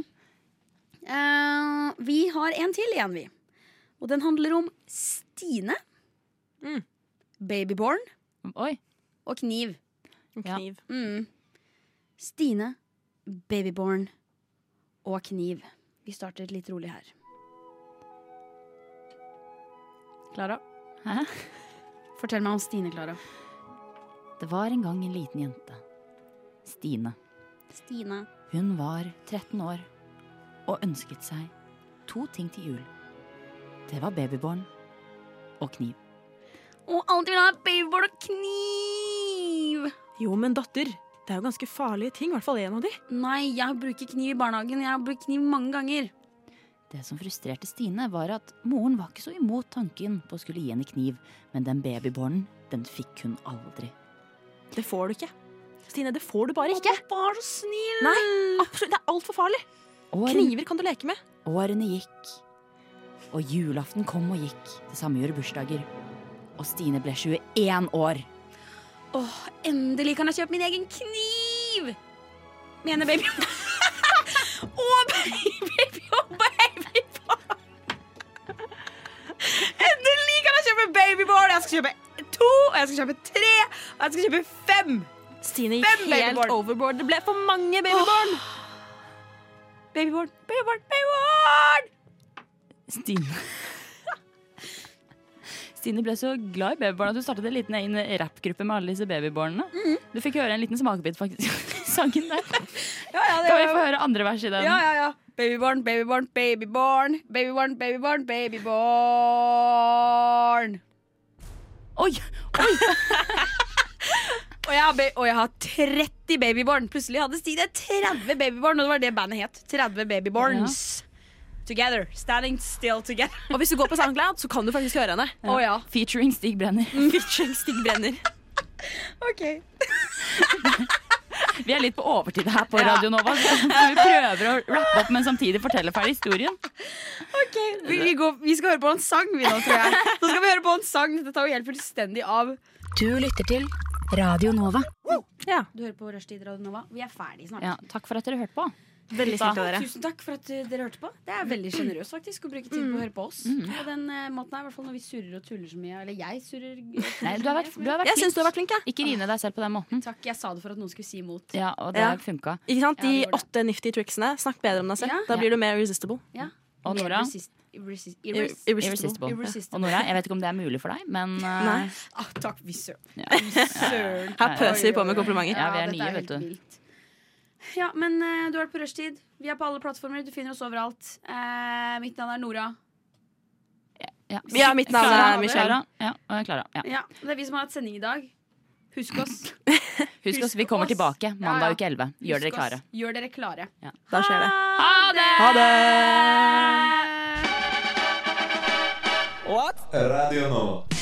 Eh, vi har en til igjen, vi. Og den handler om Stine. Mm. Babyborn. Og kniv.
Kniv.
Mm. Stine, babyborn og kniv. Vi starter litt rolig her. Klara?
Hæ?
Fortell meg om Stine, Klara.
det var en gang en liten jente. Stine.
Stine.
Hun var 13 år og ønsket seg to ting til jul. Det var babyborn og kniv.
Og alltid vil ha babyborn og kniv!
Jo, men datter, det er jo ganske farlige ting. I hvert fall en av de.
Nei, jeg bruker kniv i barnehagen. Jeg har brukt kniv mange ganger.
Det som frustrerte Stine, var at moren var ikke så imot tanken på å skulle gi henne kniv, men den babybornen, den fikk hun aldri.
Det får du ikke. Stine, det får du bare ikke. Vær så snill. Nei, absolutt. Det er altfor farlig. Kniver kan du leke med.
Årene gikk, og julaften kom og gikk. Det samme gjorde bursdager. Og Stine ble 21 år.
Åh, endelig kan jeg kjøpe min egen kniv! Mener baby. (laughs) Å, baby, å, baby. Endelig kan jeg kjøpe babyborn! Jeg skal kjøpe to, og jeg skal kjøpe tre, og jeg skal kjøpe fem!
Stine
Fem
gikk helt
babyborn.
overboard. Det ble for mange babyborn.
Babyborn, babyborn, babyborn!
Stine Stine ble så glad i babybarn at hun startet en liten egen rappgruppe med alle disse babybarna. Du fikk høre en liten smakebit, faktisk. Sangen der.
ja,
kan
det
vi
var-
få høre andre vers i den?
Ja, ja, ja. Babyborn, babyborn, babyborn. Babyborn, babyborn, babyborn.
Oi!
Oi! og, jeg har ba- og jeg har 30 babyborn. Plutselig hadde Stine 30 babyborn, og det var det bandet het. 30 babyborns. Together. Standing still together. (laughs)
Og hvis du går på SoundCloud, så kan du faktisk høre henne.
Å ja.
Featuring Stig Brenner.
Featuring Stig Brenner.
(laughs) Ok.
Vi er litt på overtid her på
Ja.
Radio Nova. Så vi prøver å rappe opp, men samtidig fortelle ferdig historien.
Ok, vi, vi, går, vi skal høre på en sang, vi nå, tror (laughs) jeg. Nå skal vi høre på en sang. Dette tar jo helt fullstendig av.
Du lytter til Radio Nova.
Du hører på Rushtid Radio Nova. Vi er ferdig snart.
Ja, takk for at dere hørte på.
Veldig
Gutta.
snilt av dere. Tusen takk for at eh, dere hørte på. Det er veldig sjenerøst faktisk å bruke tid på å høre på oss.
Mm.
På den eh, måten her, i hvert fall når vi surrer og tuller så mye. Eller jeg surrer. og tuller så
Nei, du har vært,
mye.
du har vært flink. Ikke rine deg selv på den måten.
Takk, jeg sa det for at noen skulle si imot.
Ja, og det
Ja.
funka.
Ikke sant? De åtte nifty tricksene. Snakk bedre om deg selv.
Ja.
Da blir du mer resistible.
Ja.
Og
Mer
Nora?
resist- irresist- irres-
Irresistible. Og Nora, jeg vet ikke om det er mulig for deg, men eh,
Nei. Ah, takk, vi søren. Søren.
Her pøser vi
Oi,
på med
oi, oi.
komplimenter. Ja, vi er
dette
nye,
helt
vet du.
vilt. Ja, men eh, du har vært på rushtid. Vi er på alle plattformer. Du finner oss overalt. Eh, mitt navn er Nora.
ja.
Ja, mitt navn er
Klara,
Michelle.
Klara. Ja, og jeg er Klara. Ja.
Ja, det er vi som har hatt sending i dag. Husk oss.
Husk oss, vi kommer tilbake mandag uke 11. Gjør dere
Husk oss.
klare.
Gjør dere klare.
Da skjer det.
Ha det!
Ha det!
Radio Nova.